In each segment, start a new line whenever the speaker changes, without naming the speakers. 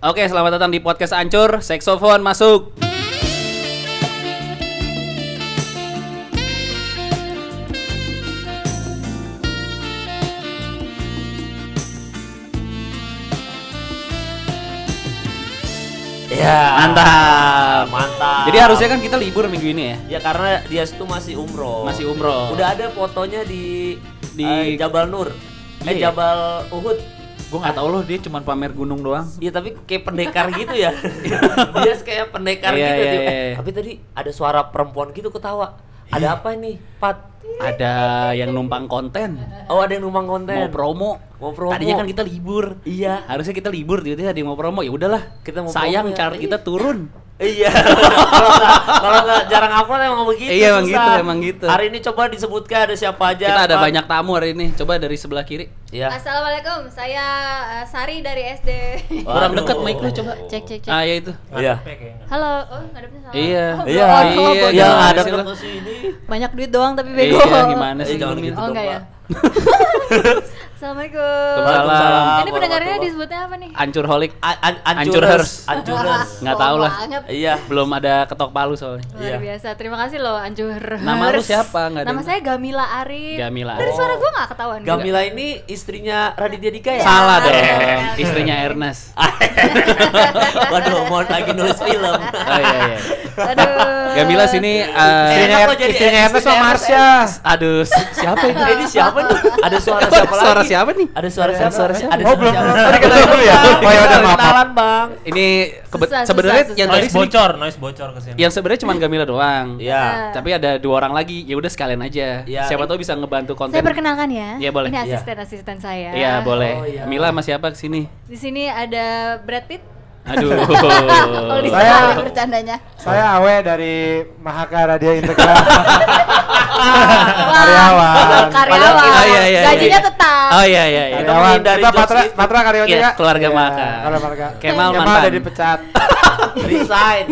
Oke, selamat datang di podcast Ancur. Saksofon masuk.
Ya.
Mantap.
Mantap.
Jadi harusnya kan kita libur minggu ini ya.
ya karena dia itu masih umroh.
Masih umroh.
Udah ada fotonya di
Di-
di Jabal Nur. Eh
Iya.
Jabal Uhud.
Gue nggak tahu loh dia cuman pamer gunung doang.
Iya tapi kayak pendekar gitu ya. dia kayak
Iya,
pendekar gitu.
iya,
tiba-
iya.
Eh, tapi tadi ada suara perempuan gitu ketawa. Ada apa nih, Pat?
Ada yang numpang konten,
Oh, ada yang numpang konten.
mau promo.
Mau promo.
Tadinya kan kita libur.
Iya.
Harusnya kita libur, tiba-tiba ada yang mau promo. Ya udahlah.
Kita mau
Sayang
promo ya.
chart kita turun.
Iya. Kalau nggak- Kalau nggak jarang upload emang begitu.
Iya, emang
susah.
gitu, emang gitu.
Hari ini coba disebutkan ada siapa aja.
Kita ada
Pat.
banyak tamu hari ini. Coba dari sebelah kiri.
Iya.
Ya. Assalamualaikum, saya eh, Sari dari SD.
Kurang
Waduh.
dekat mic-nya coba.
Cek cek cek.
Ah, ya itu.
Iya.
Halo, oh ngadepnya salah.
Iya.
Oh,
Iya,
blok out,
iya,
blok out.
iya,
ada
sih lo.
ke sini.
Banyak duit doang tapi bego.
Iya, gimana
Eh,
sih?
jangan
Bumi?
gitu
Oh enggak
dong,
ya.
Pak.
Assalamualaikum.
Waalaikumsalam.
Ini pendengarnya disebutnya apa nih?
Ancur holik.
A- an-
Ancurers.
ancurers, ancurers.
Nggak tahu
Lama
lah.
banget.
Iya.
Belum ada ketok palu soalnya.
Luar
Iya.
biasa. Terima kasih loh Anjur.
Nama lu siapa? Nggak ada
Nama
yang-
saya Gamila Arif.
Gamila Oh.
Dari
Arif.
suara gua enggak ketahuan.
Gamila ini istrinya Raditya Dika ya?
Salah
Iya,
dong,
benar sekali.
istrinya Ernest.
Waduh, mau lagi nulis film.
Oh iya iya.
Aduh.
Gamila sini eh
Istrinya-
Istrinya,
Enak kok jadi
istrinya
Ernest,
Ernest sama
Ernest,
Marsha.
aduh si- siapa itu?
Ini siapa nih? Ada suara
Ada
siapa lagi?
suara siapa nih?
Ada suara siapa?
suara siapa?
Ada
Oh,
suara
belum.
siapa?
Tadi kata dulu ya? Oh, ya udah, maaf, maaf.
Kenalan, Bang.
Ini kebe-
Susah, susah,
sebenarnya
susah.
yang tadi
Noise
sini,
bocor, noise bocor ke sini.
yang sebenarnya cuma Gamila doang.
Iya.
Nah,
Tapi ada dua orang lagi. Ya udah sekalian aja.
Iya.
Siapa tahu bisa ngebantu konten.
Saya ya? perkenalkan ya.
Iya, boleh.
Ini
Iya.
asisten-asisten saya.
Iya, boleh.
Oh, iya.
Mila sama siapa kesini?
Di sini ada Brad Pitt.
Aduh.
Kalau di
Saya-
sekali bercandanya.
Saya Awe dari Mahaka Radio Integral.
Wah,
karyawan.
Karyawan.
Oh, iya, iya,
Gajinya
iya.
tetap.
Oh iya iya iya.
Kita
Karyawan.
menghindari
Kita
jokes
patra,
gitu.
patra karyawan
Iya,
juga.
keluarga
Iya,
Mahaka.
Keluarga.
Kemal mantan.
udah dipecat.
Resign.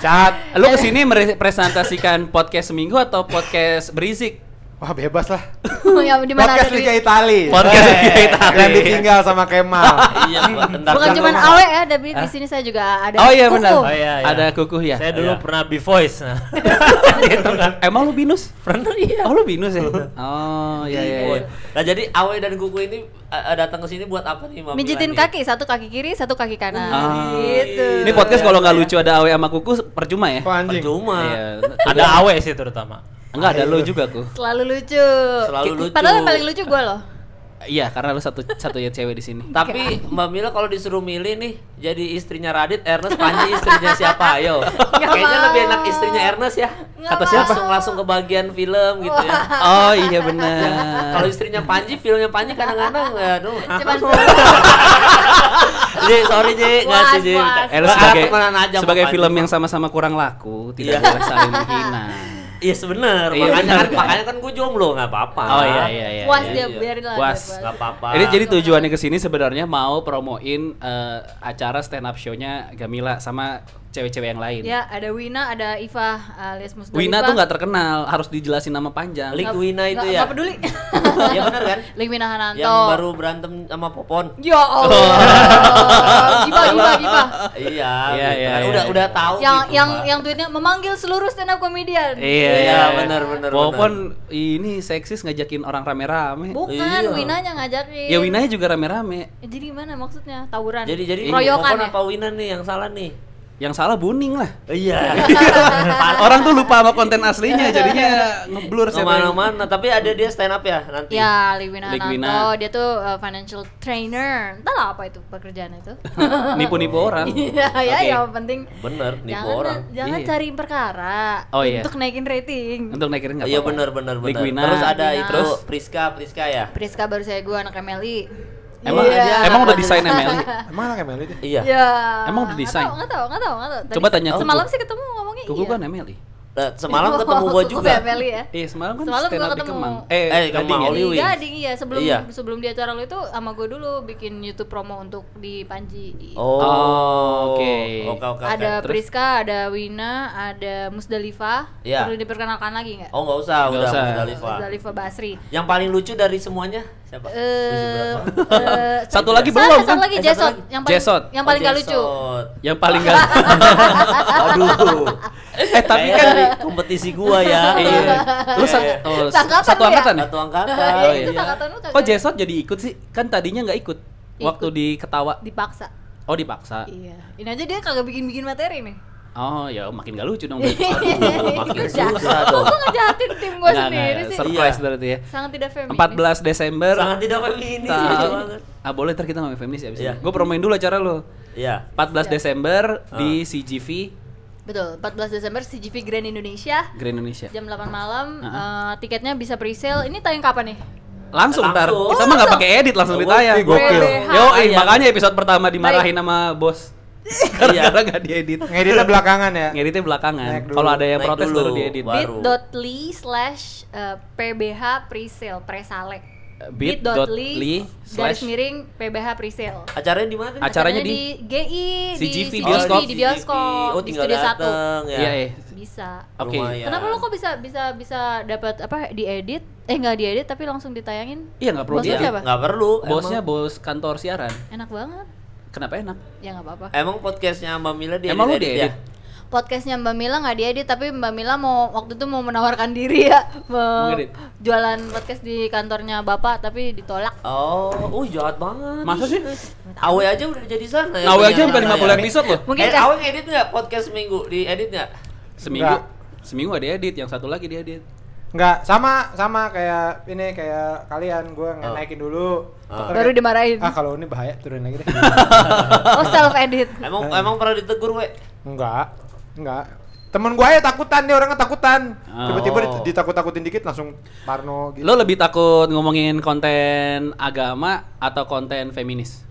Cat.
Lu kesini merepresentasikan podcast seminggu atau podcast berisik?
Wah, bebas lah.
ya, di mana ada
Podcast Liga
duit?
Itali.
Podcast Liga Itali.
Yang ditinggal sama Kemal.
Iya, Bang. Bentar.
Bukan
Bang.
cuma
rumah.
awe ya, tapi di sini saya juga ada.
Oh iya
kuku.
benar.
Oh, iya, iya.
Ada kukuh ya.
Saya dulu
Iya.
pernah be voice. Nah.
Iya.
gitu kan.
Emang lu binus?
Pernah iya.
Oh lu binus ya? Oh iya iya. iya.
Nah, jadi Awe dan Kuku ini eh, datang ke sini buat apa nih, Mami?
Mijitin kaki, satu kaki kiri, satu kaki kanan.
Ah.
Gitu.
Ini podcast kalau nggak lucu ada Awe sama Kuku percuma ya?
Kok anjing?
Percuma.
Iya.
Ada awe sih terutama.
Enggak ada lu juga ku.
Selalu lucu.
Selalu lucu.
Padahal yang paling lucu gue loh.
Iya karena lu satu satunya cewek di sini.
Tapi Mbak Mila kalau disuruh milih nih jadi istrinya Radit, Ernest, Panji istrinya siapa? Ayo. Kayaknya
mau.
lebih enak istrinya Ernest ya.
Nggak
Kata
mau.
siapa? Langsung, langsung ke bagian film gitu ya.
Oh iya
Kalau
benar.
istrinya Panji, filmnya Panji kadang-kadang ya, aduh.
Cuman
Iya,
Ji, sorry Ji, enggak sih Ji.
Puas, puas.
Eh, lu
Gua
sebagai
temenan aja sama
sebagai
Panji.
film yang sama-sama kurang laku tidak boleh saling menghina.
Iya, sebenar.
Iya,
Makanya
benar.
kan makanya kan gue jomblo, enggak apa-apa.
Oh iya iya iya.
puas
iya.
dia,
iya.
biarin lah.
Puas.
dia
Enggak apa-apa.
Ini jadi tujuannya ke sini sebenarnya mau promoin eh, acara stand up show-nya Gamila sama cewek-cewek yang lain.
Ya, ada Wina, ada Iva alias Musdalifah.
Wina tuh nggak terkenal, harus dijelasin nama panjang.
Link Wina itu
Nggak-
ya.
nggak peduli.
Iya benar kan?
Link Wina Hananto.
Yang baru berantem sama Popon.
Ya
Oh.
Allah. Gibah, gibah, gibah.
Iya,
Iya,
gitu
iya,
kan.
iya,
udah
iya.
udah tahu
yang
gitu,
yang
Pak.
yang tweetnya memanggil seluruh stand up comedian.
Iya,
Iya,
iya,
benar, benar,
Walaupun ini seksis ngajakin orang rame-rame.
Bukan
Iya.
Winanya
Eh,
ngajakin.
Ya Winanya juga rame-rame.
Eh, Jadi gimana maksudnya? Tawuran.
Jadi jadi Popon
royokan ya.
apa Wina nih yang salah nih?
Yang salah Buning lah.
Iya.
orang tuh lupa sama konten aslinya, jadinya ngeblur siapa yang-
Kemana-mana, tapi ada dia stand up ya nanti.
Ya, Lee Wina
Lee
Hananto,
Wina.
dia tuh uh, financial trainer. Entahlah apa itu pekerjaan itu.
Nipu-nipu orang.
Iya, ya,
Oke.
yang penting
Bener, nipu
jangan
orang.
jangan
Iya.
cari perkara
Oh, iya.
untuk naikin rating.
Untuk naikin enggak
Iya benar benar benar. Terus
Terus
ada
Wina.
itu
Terus?
Priska, Priska ya.
Priska baru saya gue anak MLI.
Emang
Iya.
emang udah desain MLI.
Emang lah Kemal itu.
Iya.
Ya.
Emang udah desain?
Enggak tahu, enggak tahu, enggak tahu. Tadi
Coba tanya Kuku.
Semalam sih ketemu ngomongnya
Kuku
iya.
kan MLI.
Nah, semalam ketemu gua juga.
MLI ya.
Iya, semalam kan
Semalam
stand
gua
up di
ketemu.
Kemang.
Eh,
Gading
Kemang,
ya?
Oli. Holy
Di
Wings.
Gading ya sebelum
Iya.
sebelum di acara lo itu sama gue dulu bikin YouTube promo untuk di Panji.
Oh,
Oh, oke.
Oke, Oke, oke, oke.
ada
Terus?
Priska, ada Wina, ada Musdalifah.
Iya.
Perlu diperkenalkan lagi nggak?
Oh nggak usah,
Nggak
udah
usah.
Musdalifah.
Musdalifah Basri.
Yang paling lucu dari semuanya siapa?
Eh,
Lucu berapa?
eh,
Satu lagi
salah,
belum, kan?
Satu lagi
Eh, satu
Jesot.
lagi.
Yang paling
Jesot.
yang paling
Oh,
nggak lucu.
Jesot.
Yang paling gak Aduh. Eh tapi
Kayaknya
kan
dari kompetisi gua ya.
Iya. Lu sa-
Iya.
oh,
Seangkatan
satu
lu ya?
angkatan ya?
Satu angkatan.
Oh,
itu
iya.
angkatan lu kagak
Kok Jesot jadi ikut sih? Kan tadinya nggak ikut.
Ikut.
Waktu di ketawa.
dipaksa.
Oh
Ah.
dipaksa.
Iya. Ini aja dia kagak bikin-bikin materi nih.
Oh ya makin gak lucu dong.
makin susah dong.
Gue ngejahatin tim gue
Nggak,
sendiri
nggak,
sih.
Surprise
Iya.
berarti ya.
Sangat tidak feminis.
14 Desember.
Sangat tidak Iya. feminis.
Ta-
lucu banget.
ah boleh ntar kita ngomongin feminis abis
Iya.
ini. Gue promoin dulu acara lo.
Iya.
14 Desember
Ah.
di CGV
Betul. 14 Desember CGV Grand Indonesia
Grand Indonesia.
jam 8 malam.
Ya. Heeh.
Eh, tiketnya bisa pre-sale. Ini tayang kapan nih?
Langsung ntar.
Langsung.
Kita mah nggak pakai edit langsung
Oh,
ditayang.
wih, gokil.
PBH.
Yo, makanya episode pertama dimarahin
Baik.
sama bos. Karena nggak diedit.
Iya.
Ngeditnya belakangan ya.
Ngeditnya belakangan.
Naik dulu.
Kalau ada yang
Naik
protes
dulu.
baru diedit.
Baik. Baru.
bit.ly slash eh, PBH presale presale
Bit.ly
garis
slash-
miring PBH presale
Acaranya di mana?
Acara- Acaranya
Ada
di-
GI
CGV,
di
bioskop.
di bioskop
Oh,
di
tinggal
studio satu
dateng ya.
Iya, eh.
bisa
Oke.
Lumayan. Iya.
Kenapa lo kok bisa bisa bisa dapat apa diedit? Eh nggak diedit tapi langsung ditayangin?
Iya, nggak perlu
Bosnya
diedit.
siapa?
Nggak perlu.
Bosnya bos kantor siaran.
Enak banget.
Kenapa enak?
Ya nggak apa-apa.
Emang, emang podcastnya Mbak Mila dia
Emang lu
ya?
diedit?
Podcastnya Mbak Mila nggak diedit tapi Mbak Mila mau waktu itu mau menawarkan diri ya mau
Mengedit.
jualan podcast di kantornya bapak tapi ditolak.
Oh, oh jahat banget.
Masa sih?
Awe aja udah jadi sana ya.
Awe aja sampai
ternyata
50
ya.
episode loh.
Mungkin
eh,
kan-
Awe ngedit nggak podcast minggu? Di edit nggak?
Seminggu.
Nggak.
Seminggu ada edit, yang satu lagi dia edit.
Enggak, sama sama kayak ini kayak kalian gua nge-
Oh.
naikin dulu.
Oh.
Terus
Baru
kayak,
dimarahin.
Ah, kalau ini bahaya turunin lagi deh.
Oh self edit.
Emang
Eh.
emang pernah ditegur we?
enggak. Enggak. Temen gua ya takutan nih orangnya takutan.
Oh.
Tiba-tiba dit- ditakut-takutin dikit langsung parno gitu.
Lo lebih takut ngomongin konten agama atau konten feminis?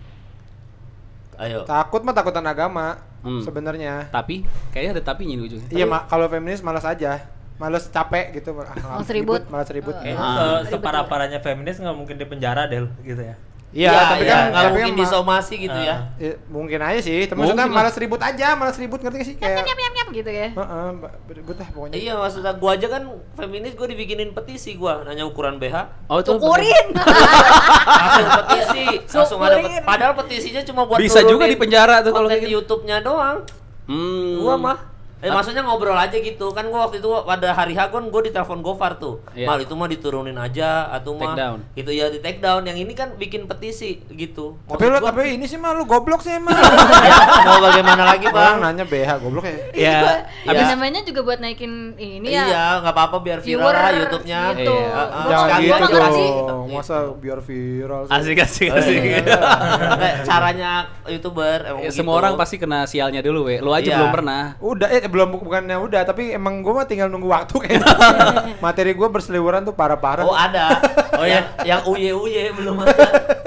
Ayo.
Takut mah takutan agama
Hmm.
sebenarnya.
Tapi kayaknya ada tapinya di ujungnya.
Iya, mak kalau feminis malas aja. Malas capek gitu. Ah,
Malas ribut.
Malas ribut.
Eh,
Kayaknya
Ah.
se- separah-parahnya feminis nggak mungkin di penjara deh gitu ya.
Iya, tapi
nggak
kan tapi kan
mungkin
ma-
disomasi gitu ya.
Ah.
Ya, mungkin aja sih, tapi
Mungkin
maksudnya
lah.
malas ribut aja, malas ribut ngerti gak sih kayak
Nyap nyap nyap gitu ya.
Heeh, ba- ribut lah pokoknya.
Iya maksudnya gua aja kan feminis gua dibikinin petisi gua nanya ukuran BH
Oh, itu
Cukurin.
langsung petisi langsung ada pet-
Syukurin.
padahal petisinya cuma buat
Bisa juga di penjara tuh kalau
kalau
kayak gitu.
YouTube-nya doang
Hmm.
gua mah Eh maksudnya ngobrol aja gitu kan gua waktu itu pada hari H kan gua ditelepon Gofar tuh
Iya.
mal itu mah diturunin aja atau
Take
mah
down.
itu ya di take down yang ini kan bikin petisi gitu
Tapi lu tapi ini sih mah lu goblok sih emang.
mau bagaimana lagi
Orang
bang
nanya BH goblok ya.
Ya,
Tapi
habis
namanya juga buat naikin ini ya.
iya nggak apa-apa biar viral
Viewer
lah YouTube-nya
gitu.
Iya.
Ah, ah.
Jangan
Sekalian
gitu
gua
juga
ngasih.
dong. Masa biar viral sih.
asik asik
iya.
Iya.
asik.
Kayak caranya youtuber emang
Ya,
gitu.
Semua orang pasti kena sialnya dulu, we. Lo aja
Iya.
belum pernah.
Udah eh belum bukannya udah, tapi emang gua mah tinggal nunggu waktu kayaknya. Materi gua berseliweran tuh parah-parah.
ah.
Oh ada. Oh ya, yang uye uye belum ada.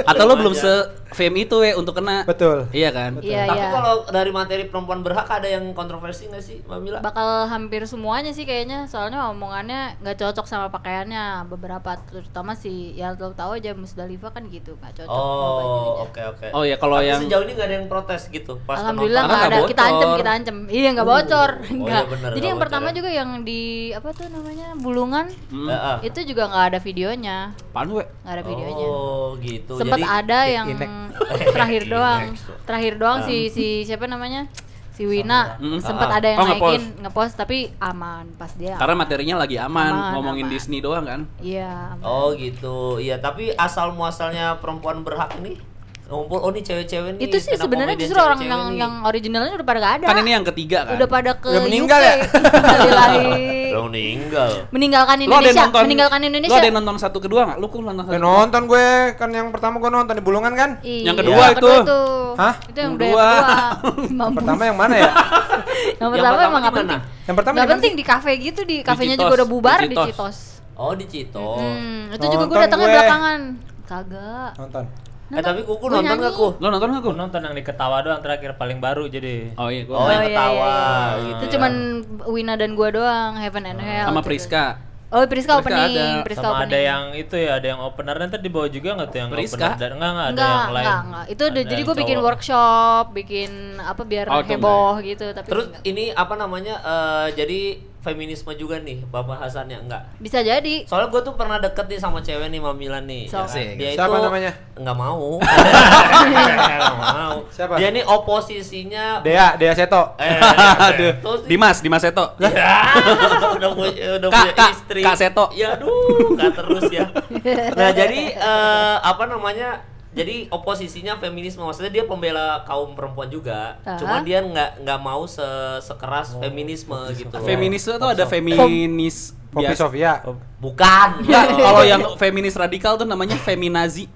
Atau lo belum
ada.
se fame itu, we, untuk kena.
Betul.
Iya kan?
Iya
Tapi
iya.
kalau dari materi perempuan berhak ada yang kontroversi nggak sih, Mbak Mila?
Bakal hampir semuanya sih kayaknya soalnya omongannya nggak cocok sama pakaiannya beberapa terutama si ya lo tahu aja Musdalifah kan gitu nggak cocok. sama bajunya.
Oh, oke oke.
Oh ya, kalau
Tapi
yang-
sejauh ini nggak ada yang protes gitu. Pas
penonton.
Alhamdulillah nggak
Karena
ada.
nggak
Kita
bocor.
ancem, kita ancem. Iya nggak bocor,
iya
nggak.
bener,
Jadi
nggak
yang
bocor
pertama
ya.
juga yang di apa tuh namanya bulungan
penonton. Heeh.
itu juga nggak ada videonya,
Apaan, we?
nggak ada videonya.
Ah. Oh gitu.
Sempat
Jadi
ada yang
inek.
terakhir
Inek.
doang, terakhir doang
Ah.
si si siapa namanya si Wina
Mm-mm.
sempat
Ah, ah.
ada yang
Oh, ngepost.
naikin ngepost tapi aman pas dia.
Karena materinya lagi aman,
Iya. Aman,
ngomongin
aman.
Disney doang kan.
Iya. aman.
Oh gitu. Iya, tapi asal muasalnya perempuan berhak nih ngumpul oh nih cewek-cewek nih.
Itu sih
stand up
sebenarnya
comedian
justru orang
cewek-cewek
yang
nih.
yang originalnya udah pada gak ada.
Kan ini yang ketiga kan.
udah pada ke
Udah meninggal
UK.
ya?
Innalillahi.
Udah meninggal.
meninggalkan
Lo ada yang
Indonesia,
nonton
meninggalkan Indonesia.
Lo ada yang nonton satu kedua nggak? Lu kok nonton satu?
Eh, nonton gue kan yang pertama gue nonton di Bulungan kan?
Iya,
Yang kedua itu.
Hah?
Itu yang
Yang
udah yang
kedua.
kedua. Mampus.
Pertama yang mana ya?
yang pertama
di
emang nggak
mana?
penting.
Yang pertama
Nggak
di mana
penting
sih?
di kafe gitu, di kafenya
Citos,
juga udah bubar
di
di
Citos.
Citos.
Oh di Cito.
Hmm, itu juga gue
Nonton
datangnya
Oh, gue.
belakangan. Kagak.
Nonton.
Eh tapi kuku
Gua
nonton
nyanyi.
gak ku?
Lo nonton nggak
Aku
gue?
nonton yang diketawa doang terakhir paling baru jadi.
Oh iya, gue
Oh, yang
iya,
ketawa
iya, iya.
gitu
Itu
ya.
cuman Wina dan gue doang, Heaven and Hell.
sama
gitu.
Priska.
Oh, Priska
Priska
opening,
ada.
Priska
Sama
opening.
ada yang itu ya, ada yang opener nanti dibawa juga nggak tuh yang
Priska?
opener? Dan, enggak, enggak, ada
enggak,
yang lain.
enggak, enggak. Itu udah
Ada
jadi
yang
gue bikin
cowok.
workshop, bikin apa biar
Oh, itu
heboh gitu, tapi
Terus
enggak.
ini apa namanya? eh, jadi feminisme juga nih bahasannya enggak?
bisa jadi.
Soalnya gue tuh pernah deket nih sama cewek nih, sama Milan nih.
So-
ya kan? Dia
Siapa
itu
namanya?
Nggak mau. Nggak mau.
Siapa?
Dia nih oposisinya.
Dea, Dea Seto.
Eh,
Aduh.
terus-
Dimas, Dimas Seto.
Ya, udah punya, udah
Kak,
punya
Kak,
istri.
Kak Seto.
Ya aduh, Kak terus ya. Nah, jadi eh, apa namanya? Jadi oposisinya feminisme maksudnya dia pembela kaum perempuan juga.
Ah.
Cuma dia nggak nggak mau se sekeras feminisme gitu. loh.
Feminis itu tuh ada feminis
Poppy
biasa.
Sofia.
Bukan.
Enggak, kalau yang feminis radikal tuh namanya feminazi.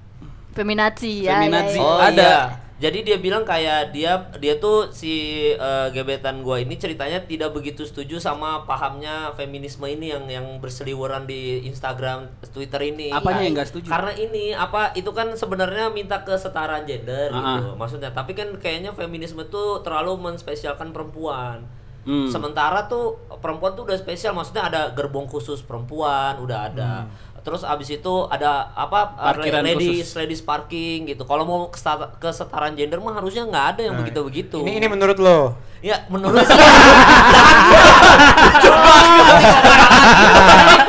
Feminazi ya.
Feminazi.
ya, ya.
Oh
Ada.
ada. Jadi dia bilang kayak dia dia tuh si eh, gebetan gua ini ceritanya tidak begitu setuju sama pahamnya feminisme ini yang yang berseliweran di Instagram, Twitter ini.
Apanya
Nah,
yang nggak setuju?
Karena ini apa itu kan sebenarnya minta kesetaraan gender gitu. Maksudnya tapi kan kayaknya feminisme tuh terlalu menspesialkan perempuan.
Hmm.
Sementara tuh perempuan tuh udah spesial, maksudnya ada gerbong khusus perempuan, udah ada. Terus abis itu ada apa? eh,
Hmm. Parkiran
ladies,
khusus.
ladies parking gitu. Kalau mau kesta- kesetaraan gender mah harusnya nggak ada
Nah,
yang begitu-begitu.
Ini ini menurut lo.
ya menurut saya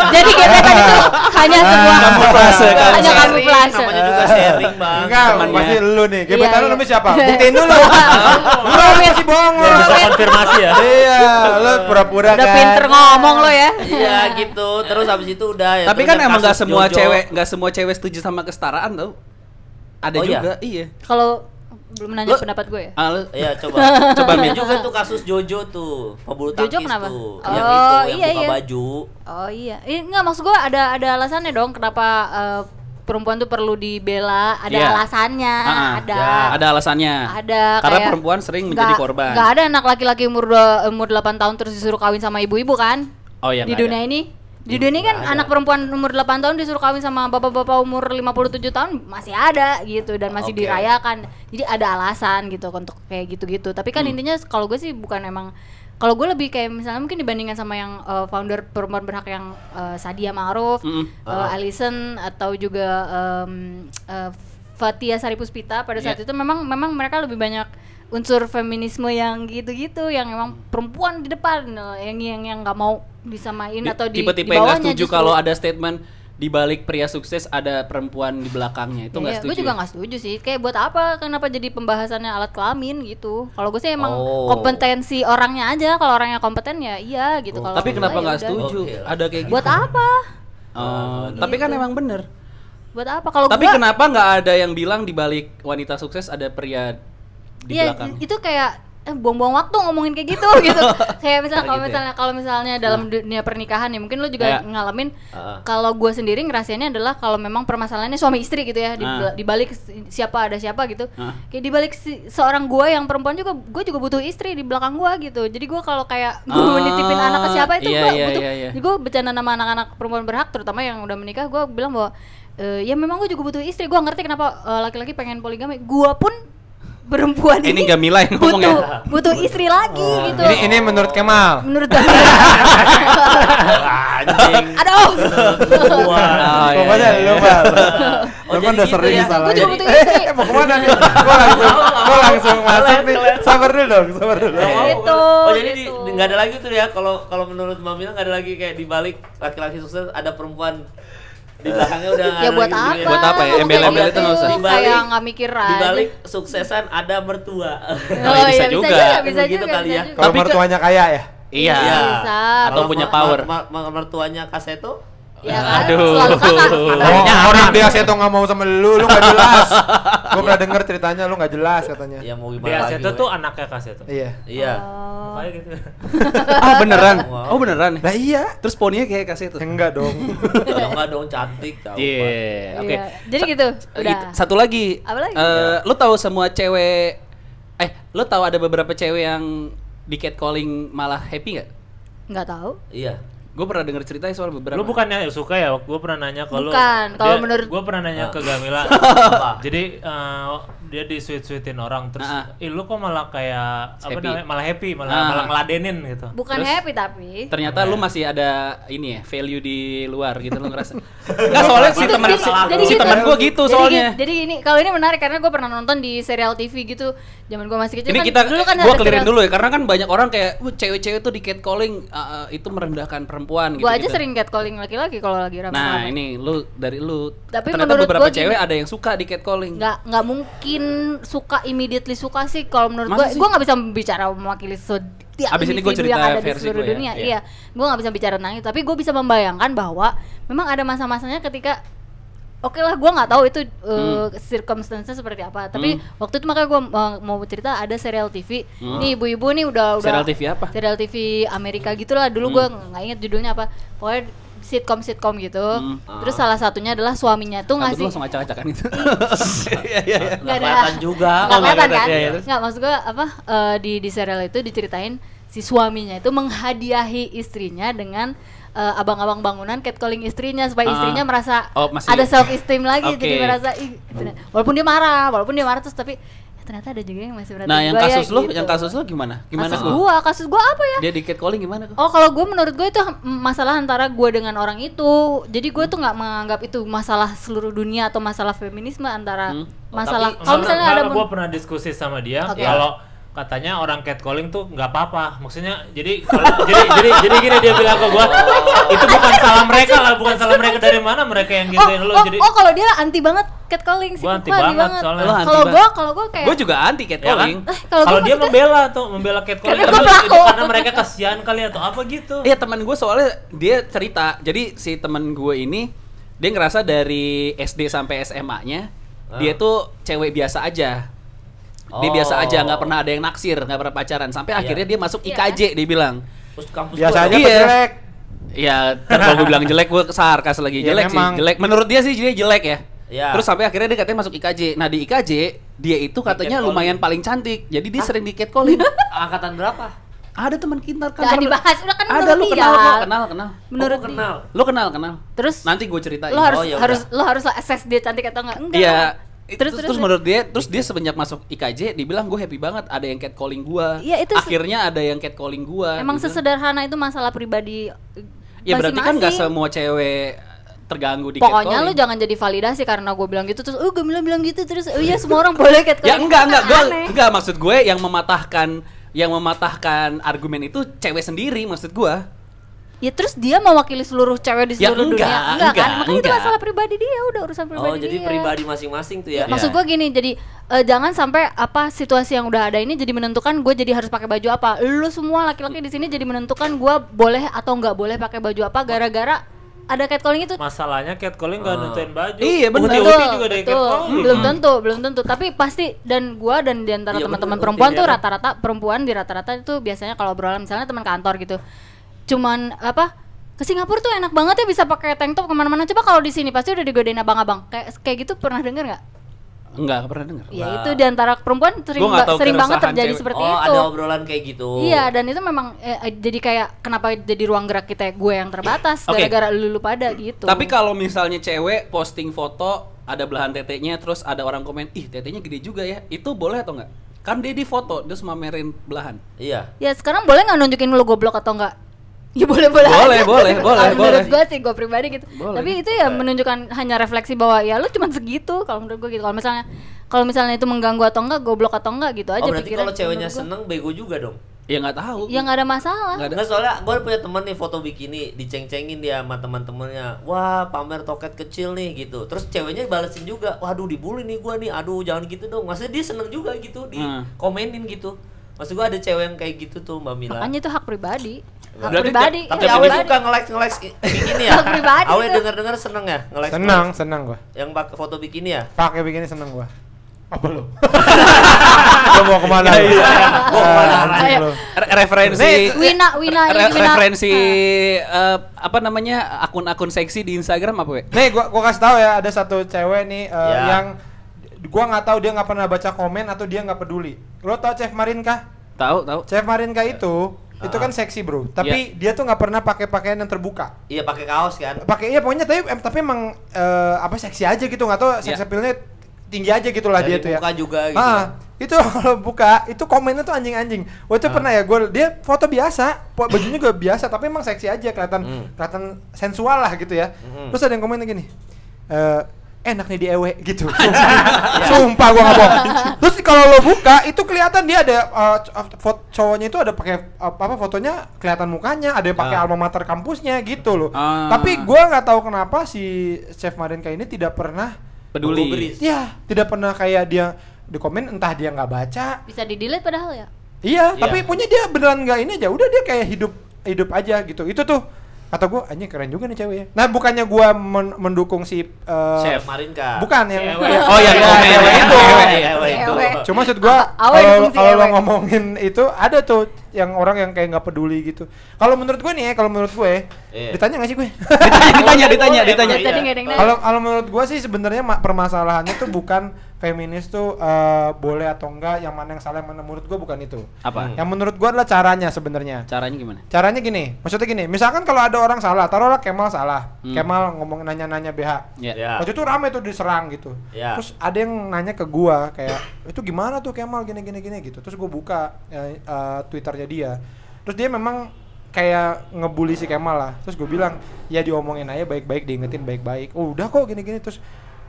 jadi gebetan itu hanya sebuah
Ah, Kamuflase,
hanya kamu
sharing, namanya juga sharing bang.
Enggak,
temannya.
pasti lu nih.
Eh, Iya,
Gebetan lu
iya.
namanya siapa? Buktiin dulu. lu masih bohong lu.
Biar bisa konfirmasi ya.
Iya, lu pura-pura
Udah
kan.
pinter ngomong lo ya.
Iya gitu. Terus abis itu udah. ya,
Tapi
terus
kan
ada
emang nggak
kasus
semua
Jojo.
cewek, nggak semua cewek setuju sama kesetaraan tau. Ada
Oh, iya?
juga, iya.
Kalau belum nanya
Lo-
pendapat gue ya.
Ah, lu-
Iya coba.
Coba,
Ada
Min.
juga tuh kasus Jojo tuh pebulu
Jojo
tangkis
kenapa?
tuh.
Oh,
yang itu yang
iya,
buka
iya.
baju.
Oh iya, ini nggak maksud gue ada ada alasannya dong kenapa eh, perempuan tuh perlu dibela, ada
Iya.
alasannya,
Ah,
ada.
ya, ada alasannya.
Ada
Karena
kayak-
perempuan sering menjadi
Nggak-
korban.
nggak ada anak laki-laki umur dua- umur 8 tahun terus disuruh kawin sama ibu-ibu kan?
Oh iya,
di
nggak ada.
dunia ini. Di dunia ini kan anak perempuan umur 8 tahun disuruh kawin sama bapak-bapak umur 57 tahun masih ada gitu dan masih
Oke.
dirayakan. Jadi ada alasan gitu untuk kayak gitu-gitu. Tapi kan intinya kalau gue sih bukan emang kalau gue lebih kayak misalnya mungkin dibandingkan sama yang eh, founder perempuan berhak yang eh, Sadia Ma'ruf,
Mm-mm.
eh, Alison atau juga em, eh, Fatia Sari Puspita pada saat
Iya.
itu memang memang mereka lebih banyak unsur feminisme yang gitu-gitu yang emang perempuan di depan eh, yang yang yang nggak mau
Di-
disamain atau di
tipe-tipe
di
yang nggak
bawahnya
setuju
justru.
kalau ada statement di balik pria sukses ada perempuan di belakangnya itu nggak
Iya, iya.
setuju.
Gue juga nggak setuju sih. Kayak buat apa? Kenapa jadi pembahasannya alat kelamin gitu? Kalau gue sih emang
Oh.
kompetensi orangnya aja. Kalau orangnya kompeten ya iya gitu. Kalau
Oh. Tapi
enggak,
kenapa
ya
nggak
udah.
setuju?
Oke lah.
Ada kayak gitu.
Buat apa?
Oh, tapi kan emang bener.
Buat apa? Kalau
tapi
gua-
kenapa nggak ada yang bilang di balik wanita sukses ada pria di
Iya,
belakang?
itu kayak eh, buang-buang waktu ngomongin kayak gitu gitu. kayak misalnya kalau
Gitu ya?
misalnya kalau misalnya dalam dunia pernikahan ya mungkin lu
Ya.
juga ngalamin
Ah.
kalau gua sendiri ngerasainnya adalah kalau memang permasalahannya suami istri gitu ya di,
Ah.
di balik si- siapa ada siapa gitu.
Ah.
Kayak di balik si- seorang gua yang perempuan juga gue juga butuh istri di belakang gua gitu. Jadi gua kalau kayak gua
Ah,
menitipin anak ke siapa itu
iya,
gua
iya,
butuh.
iya, iya.
Jadi gue bercanda sama anak-anak perempuan berhak terutama yang udah menikah gua bilang bahwa "Eh, ya memang gue juga butuh istri. Gua ngerti kenapa eh, laki-laki pengen poligami. Gua pun perempuan
Eh, ini Gamila yang ngomong
butuh,
ya? Oh.
butuh istri lagi gitu
Ini ini menurut Kemal.
menurut gue
Anjing.
aduh
Oh, iya,
Pokoknya
iya,
lu,
Oh,
Mal. Lu
jadi
kan udah
gitu
sering
ya.
salah.
Gua juga butuh istri.
Eh, mau kemana nih? Gua langsung, gua langsung masuk nih. Sabar dulu dong, sabar dulu.
Nggak mau,
Gitu,
Oh jadi di-
gitu.
di- nggak ada lagi tuh ya kalau kalau menurut Mbak Mila nggak ada lagi kayak di balik laki-laki sukses ada perempuan di belakangnya udah nggak
ya
ada
buat
lagi
apa
gitu
Buat apa ya?
Ngomong kayak
Embel-embel itu nggak usah.
gitu, kayak nggak mikir
Di
aja
balik suksesan ada mertua.
Oh, iya, bisa juga.
Begitu
bisa juga,
kali
bisa
ya.
juga.
Kalau
Tapi ke-
mertuanya kaya ya.
Iya.
Iya.
Bisa.
Atau
Kalau
punya
ma-
power.
ma- ma- mertuanya Kaseto
ya kan
Aduh.
selalu kakak
Oh, orang dia saya tuh nggak mau sama lu, lu nggak jelas. Gua pernah denger ceritanya lu nggak jelas katanya.
ya mau gimana
Dia
lagi, weh.
Seto tuh anaknya Kak Seto.
Iya.
Iya.
Oh.
Kayak gitu.
ah beneran?
Wow.
Oh beneran?
Lah iya.
Terus poninya kayak kasih itu.
Ya, Enggak dong.
Ya nggak dong cantik tahu.
Iya, oke.
Iya. Jadi gitu,
Eh,
udah.
itu- Satu lagi.
Apa lagi?
Eh, lu tahu semua cewek eh lu tahu ada beberapa cewek yang di catcalling malah happy nggak?
nggak tahu
Iya.
Gue pernah denger ceritanya soal beberapa.
Lu bukannya suka ya? Gue pernah nanya ke lu. Ah.
Bukan, kalau menurut-
Gue pernah nanya ke Gamila. Jadi eh, dia disuit-suitin orang terus
Ah,
"Ih, lu kok malah kayak apa
Happy.
namanya malah happy malah
Ah.
malah ngeladenin gitu
Bukan
Terus-
happy tapi.
Ternyata lu masih ada ini ya, value di luar gitu lu ngerasa. Enggak soalnya si
Gitu,
teman
gitu, jadi
si
gitu.
teman gua gitu
Jadi
soalnya.
gini- Jadi ini kalau ini menarik karena gue pernah nonton di serial TV gitu zaman gue masih kecil
Ini
kan
kita
dulu kan
gua
ada
clearin
serial-
dulu ya karena kan banyak orang kayak "Wah, cewek-cewek tuh di catcalling uh, uh, itu merendahkan perempuan gitu.
Gue aja sering catcalling laki-laki kalau lagi rame
Nah, ini lu dari lu.
Tapi
ternyata
menurut
beberapa
gua gini.
cewek ada yang suka di catcalling.
nggak nggak mungkin suka immediately suka sih kalau menurut
Masa
gue
sih?
gue nggak bisa bicara mewakili setiap
Abis ini gua
individu
cerita
yang ada di
versi
seluruh
gua ya,
dunia
iya.
iya gue nggak bisa bicara tentang itu tapi gue bisa membayangkan bahwa memang ada masa-masanya ketika Oke lah, gue nggak tahu itu
Hmm.
uh, circumstance-nya seperti apa. Tapi waktu itu makanya gue mau cerita ada serial TV. Nih ibu-ibu nih udah
Hmm.
udah
Serial TV apa? Hmm.
Serial TV Amerika gitulah. Dulu gua gue nggak inget judulnya apa. Pokoknya sitcom sitcom gitu. Terus salah satunya adalah suaminya tuh
Hmm. Rambut lu
ngasih
langsung acak-acakan itu. Iya,
Nggak ada.
kelihatan juga.
Nggak
Oh, nggak
kelihatan
kelihatan,
kan?
iya, iya, terus?
Nggak, maksud gue apa eh, di di serial itu diceritain si suaminya itu menghadiahi istrinya dengan eh, abang-abang bangunan catcalling istrinya supaya
Ah.
istrinya merasa
Oh, masih-
ada self esteem lagi jadi
Oke.
merasa "Ih, ternyata- walaupun dia marah, walaupun dia marah terus tapi "Eh, ternyata ada juga yang masih berarti ya gitu.
Nah, yang kasus lu, yang kasus lu gimana? Gimana
kasus
lu?
gua, kasus gua apa ya?
Dia di catcalling gimana kok?
Oh kalau gue menurut gue itu mm, masalah antara gue dengan orang itu Jadi gue tuh nggak menganggap itu masalah seluruh dunia atau masalah feminisme antara
Hmm.
masalah
Tapi
Kalau misalnya ada
gue pernah diskusi sama dia
Oke.
kalau katanya orang catcalling tuh nggak apa-apa maksudnya jadi kalau jadi jadi jadi gini dia bilang ke gue itu bukan salah mereka lah bukan salah mereka dari mana mereka yang
oh,
gituin lo
oh,
jadi
oh, kalau dia anti banget catcalling sih.
Gua anti banget soalnya.
Lu anti
Kalau
banget.
gua kalau gua kayak
Gue juga anti
ya kan
catcalling.
Eh, kalau gua
kalau dia
maksudnya-
membela tuh membela catcalling
Karena gua
tapi itu
pelaku.
karena mereka kasihan kali atau apa gitu
Iya teman gue soalnya dia cerita jadi si teman gue ini dia ngerasa dari SD sampai SMA-nya dia tuh cewek biasa aja dia
Oh.
biasa aja nggak pernah ada yang naksir nggak pernah pacaran sampai akhirnya dia masuk
Iya.
IKJ dia bilang
Terus kampus
Biasa
gua
aja
Iya.
pejelek.
ya ntar kalau gue bilang jelek gue sarkas lagi
Iya,
jelek
memang.
sih jelek menurut dia sih dia jelek ya
Iya.
terus sampai akhirnya dia katanya masuk IKJ nah di IKJ dia itu katanya
catcalling.
lumayan paling cantik jadi
Ah.
dia sering di catcalling
angkatan berapa?
ada teman kita
Jangan dibahas, udah kan
ada lu
menurut
kenal
dia.
kok, kenal kenal
menurut
Oh, gua kenal.
lu kenal kenal
Terus
nanti gue ceritain
lo harus
ya udah.
harus lo harus assess dia cantik atau enggak? Enggak.
Iya.
Terus
Terus,
terus,
terus, menurut dia, terus dia semenjak masuk IKJ dibilang gue happy banget ada yang catcalling gua.
Iya, itu se-
Akhirnya ada yang catcalling gua.
emang
gitu.
sesederhana itu masalah pribadi
Ya berarti kan nggak
masing-masing.
semua cewek terganggu di
Pokoknya
catcalling.
lu
Ya,
jangan jadi validasi karena gue bilang gitu terus, oh gue bilang bilang gitu terus, oh iya semua orang boleh catcalling.
Ya enggak enggak
Kan
gue
aneh.
enggak maksud gue yang mematahkan yang mematahkan argumen itu cewek sendiri maksud gua.
Ya terus dia mewakili seluruh cewek di
Ya,
seluruh
enggak,
dunia, kan?
enggak,
Makanya itu
enggak.
masalah pribadi dia, udah urusan pribadi
Oh, jadi
dia. Iya.
pribadi masing-masing tuh ya.
Iya.
Maksud gue gini, jadi eh, jangan sampai apa situasi yang udah ada ini jadi menentukan gue jadi harus pakai baju apa. Lu semua laki-laki di sini jadi menentukan gue boleh atau nggak boleh pakai baju apa gara-gara ada catcalling itu.
masalahnya catcalling nggak nentuin baju
Iya, benar.
Uti-uti
Betul,
juga dari
betul.
catcalling Oh, gitu. Hmm.
Belum tentu, belum tentu. Tapi pasti dan gue dan di antara
Iya,
teman-teman
betul,
perempuan
iya,
tuh
iya.
rata-rata perempuan di rata-rata itu biasanya kalau obrolan misalnya teman kantor gitu, cuman apa ke Singapura tuh enak banget ya bisa pakai tank top kemana-mana. Coba kalau di sini pasti udah digodain abang-abang. Kayak kayak gitu pernah denger nggak?
Enggak pernah dengar.
Ya itu di antara perempuan sering,
Gua nggak
ba-
tahu
sering banget
keresahan
terjadi
cewek.
seperti
oh,
itu.
ada obrolan kayak gitu.
Iya, dan itu memang eh, eh, jadi kayak kenapa jadi ruang gerak kita gue yang terbatas
Oke.
gara-gara lu, lu pada gitu.
Tapi kalau misalnya cewek posting foto ada belahan tetenya terus ada orang komen ih tetenya gede juga ya itu boleh atau enggak? Kan dia di foto terus mamerin belahan.
Iya.
ya sekarang boleh nggak nunjukin lu goblok atau enggak? Ya boleh boleh.
Boleh,
aja.
boleh,
Kalau
boleh,
Menurut
boleh.
gue sih gue pribadi gitu.
Boleh.
Tapi itu ya menunjukkan hanya refleksi bahwa ya lu cuma segitu kalau menurut gue gitu. Kalau misalnya kalau misalnya itu mengganggu atau enggak, goblok atau enggak gitu aja
Oh, berarti
pikiran
kalau ceweknya
menurut gua.
seneng bego juga dong.
Ya nggak tahu.
ya nggak ada masalah.
Nggak ada.
Enggak soalnya gue punya temen nih foto bikini diceng-cengin dia sama teman-temannya. Wah pamer toket kecil nih gitu. Terus ceweknya balesin juga. Waduh dibully nih gue nih. Aduh jangan gitu dong. Maksudnya dia seneng juga gitu di
Hmm.
komenin gitu. Maksud gue ada cewek yang kayak gitu tuh Mbak Mila.
Makanya itu hak pribadi. Hak
Berarti
pribadi.
Tapi
ya,
Awe
pribadi.
suka nge-like nge-like bikini ya.
Hak pribadi
Awe
itu.
denger-denger seneng ya nge-like.
Senang, senang gua.
Yang pakai foto bikini ya.
Pakai begini senang gua. Apa lu? Lu mau kemana? lu?
Mau kemana
Ah,
arahnya?
lu.
Re- referensi
Wina, Wina, ini
Re-
Wina. Ah.
referensi eh, apa namanya akun-akun seksi di Instagram apa we?
Nih gua gua kasih tahu ya ada satu cewek nih eh,
Ya.
yang gua nggak tahu dia nggak pernah baca komen atau dia nggak peduli. Lo tau Chef Marin kah?
Tahu tahu.
Chef Marin
Ya.
kah itu itu
Ah.
kan seksi bro, tapi dia tuh nggak pernah pakai pakaian yang terbuka.
Iya pakai kaos kan.
Pakai iya pokoknya tapi em- tapi emang eh, apa seksi aja gitu nggak tahu seks
Iya.
appeal-nya tinggi aja gitu lah
Ya. Dari
dia tuh ya.
muka juga gitu.
Ah, itu kalau buka itu komennya tuh anjing-anjing.
Ah.
Waktu itu pernah ya gue dia foto biasa, po- bajunya juga biasa tapi emang seksi aja kelihatan
Hmm.
kelihatan sensual lah gitu ya.
Mm-mm.
Terus ada yang komennya gini. eh enak nih di ewe gitu.
Ya.
Sumpah gua nggak bohong. Terus kalau lo buka itu kelihatan dia ada eh, c- eh, foto cowoknya itu ada pakai eh, apa fotonya kelihatan mukanya, ada yang pakai
Ah.
alma mater kampusnya gitu loh.
Ah.
Tapi gua nggak tahu kenapa si Chef Marenka ini tidak pernah
Buku beris.
peduli.
Ya, tidak pernah kayak dia di komen entah dia nggak baca.
Bisa di delete padahal ya.
Iya,
Iya.
tapi punya dia beneran nggak ini aja. Udah dia kayak hidup hidup aja gitu. Itu tuh kata gue anjing keren juga nih cewek ya. Nah, bukannya gua men- mendukung si eh,
Chef Marinka.
Bukan yang
Cewek.
Oh ya,
Iya,
komen
iya,
itu.
iya.
Cuma maksud gua
Apa- awet
kalau
fungsi
kalau lo
awet.
ngomongin itu ada tuh yang orang yang kayak nggak peduli gitu. Kalau menurut gue nih, ya, kalau menurut gue,
Iya.
ditanya nggak sih gue?
Oh,
ditanya, ditanya, ditanya.
Tadi nggak ada yang nanya.
Kalau kalau menurut gua sih sebenarnya ma- permasalahannya tuh bukan feminis tuh eh, boleh atau enggak, yang mana yang salah, yang mana menurut gua bukan itu.
Apa?
Yang menurut gua adalah caranya sebenarnya.
Caranya gimana?
Caranya gini, maksudnya gini, misalkan kalau ada orang salah, taruhlah Kemal salah.
Hmm.
Kemal ngomong nanya-nanya BH.
Ya.
Ya.
Waktu itu rame tuh diserang gitu.
Ya.
Terus ada yang nanya ke gua kayak itu gimana tuh Kemal gini gini gini gitu. Terus gua buka eh, eh, Twitternya dia. Terus dia memang kayak ngebully si Kemal lah. Terus gua bilang ya diomongin aja baik-baik, diingetin baik-baik. Oh, udah kok gini gini terus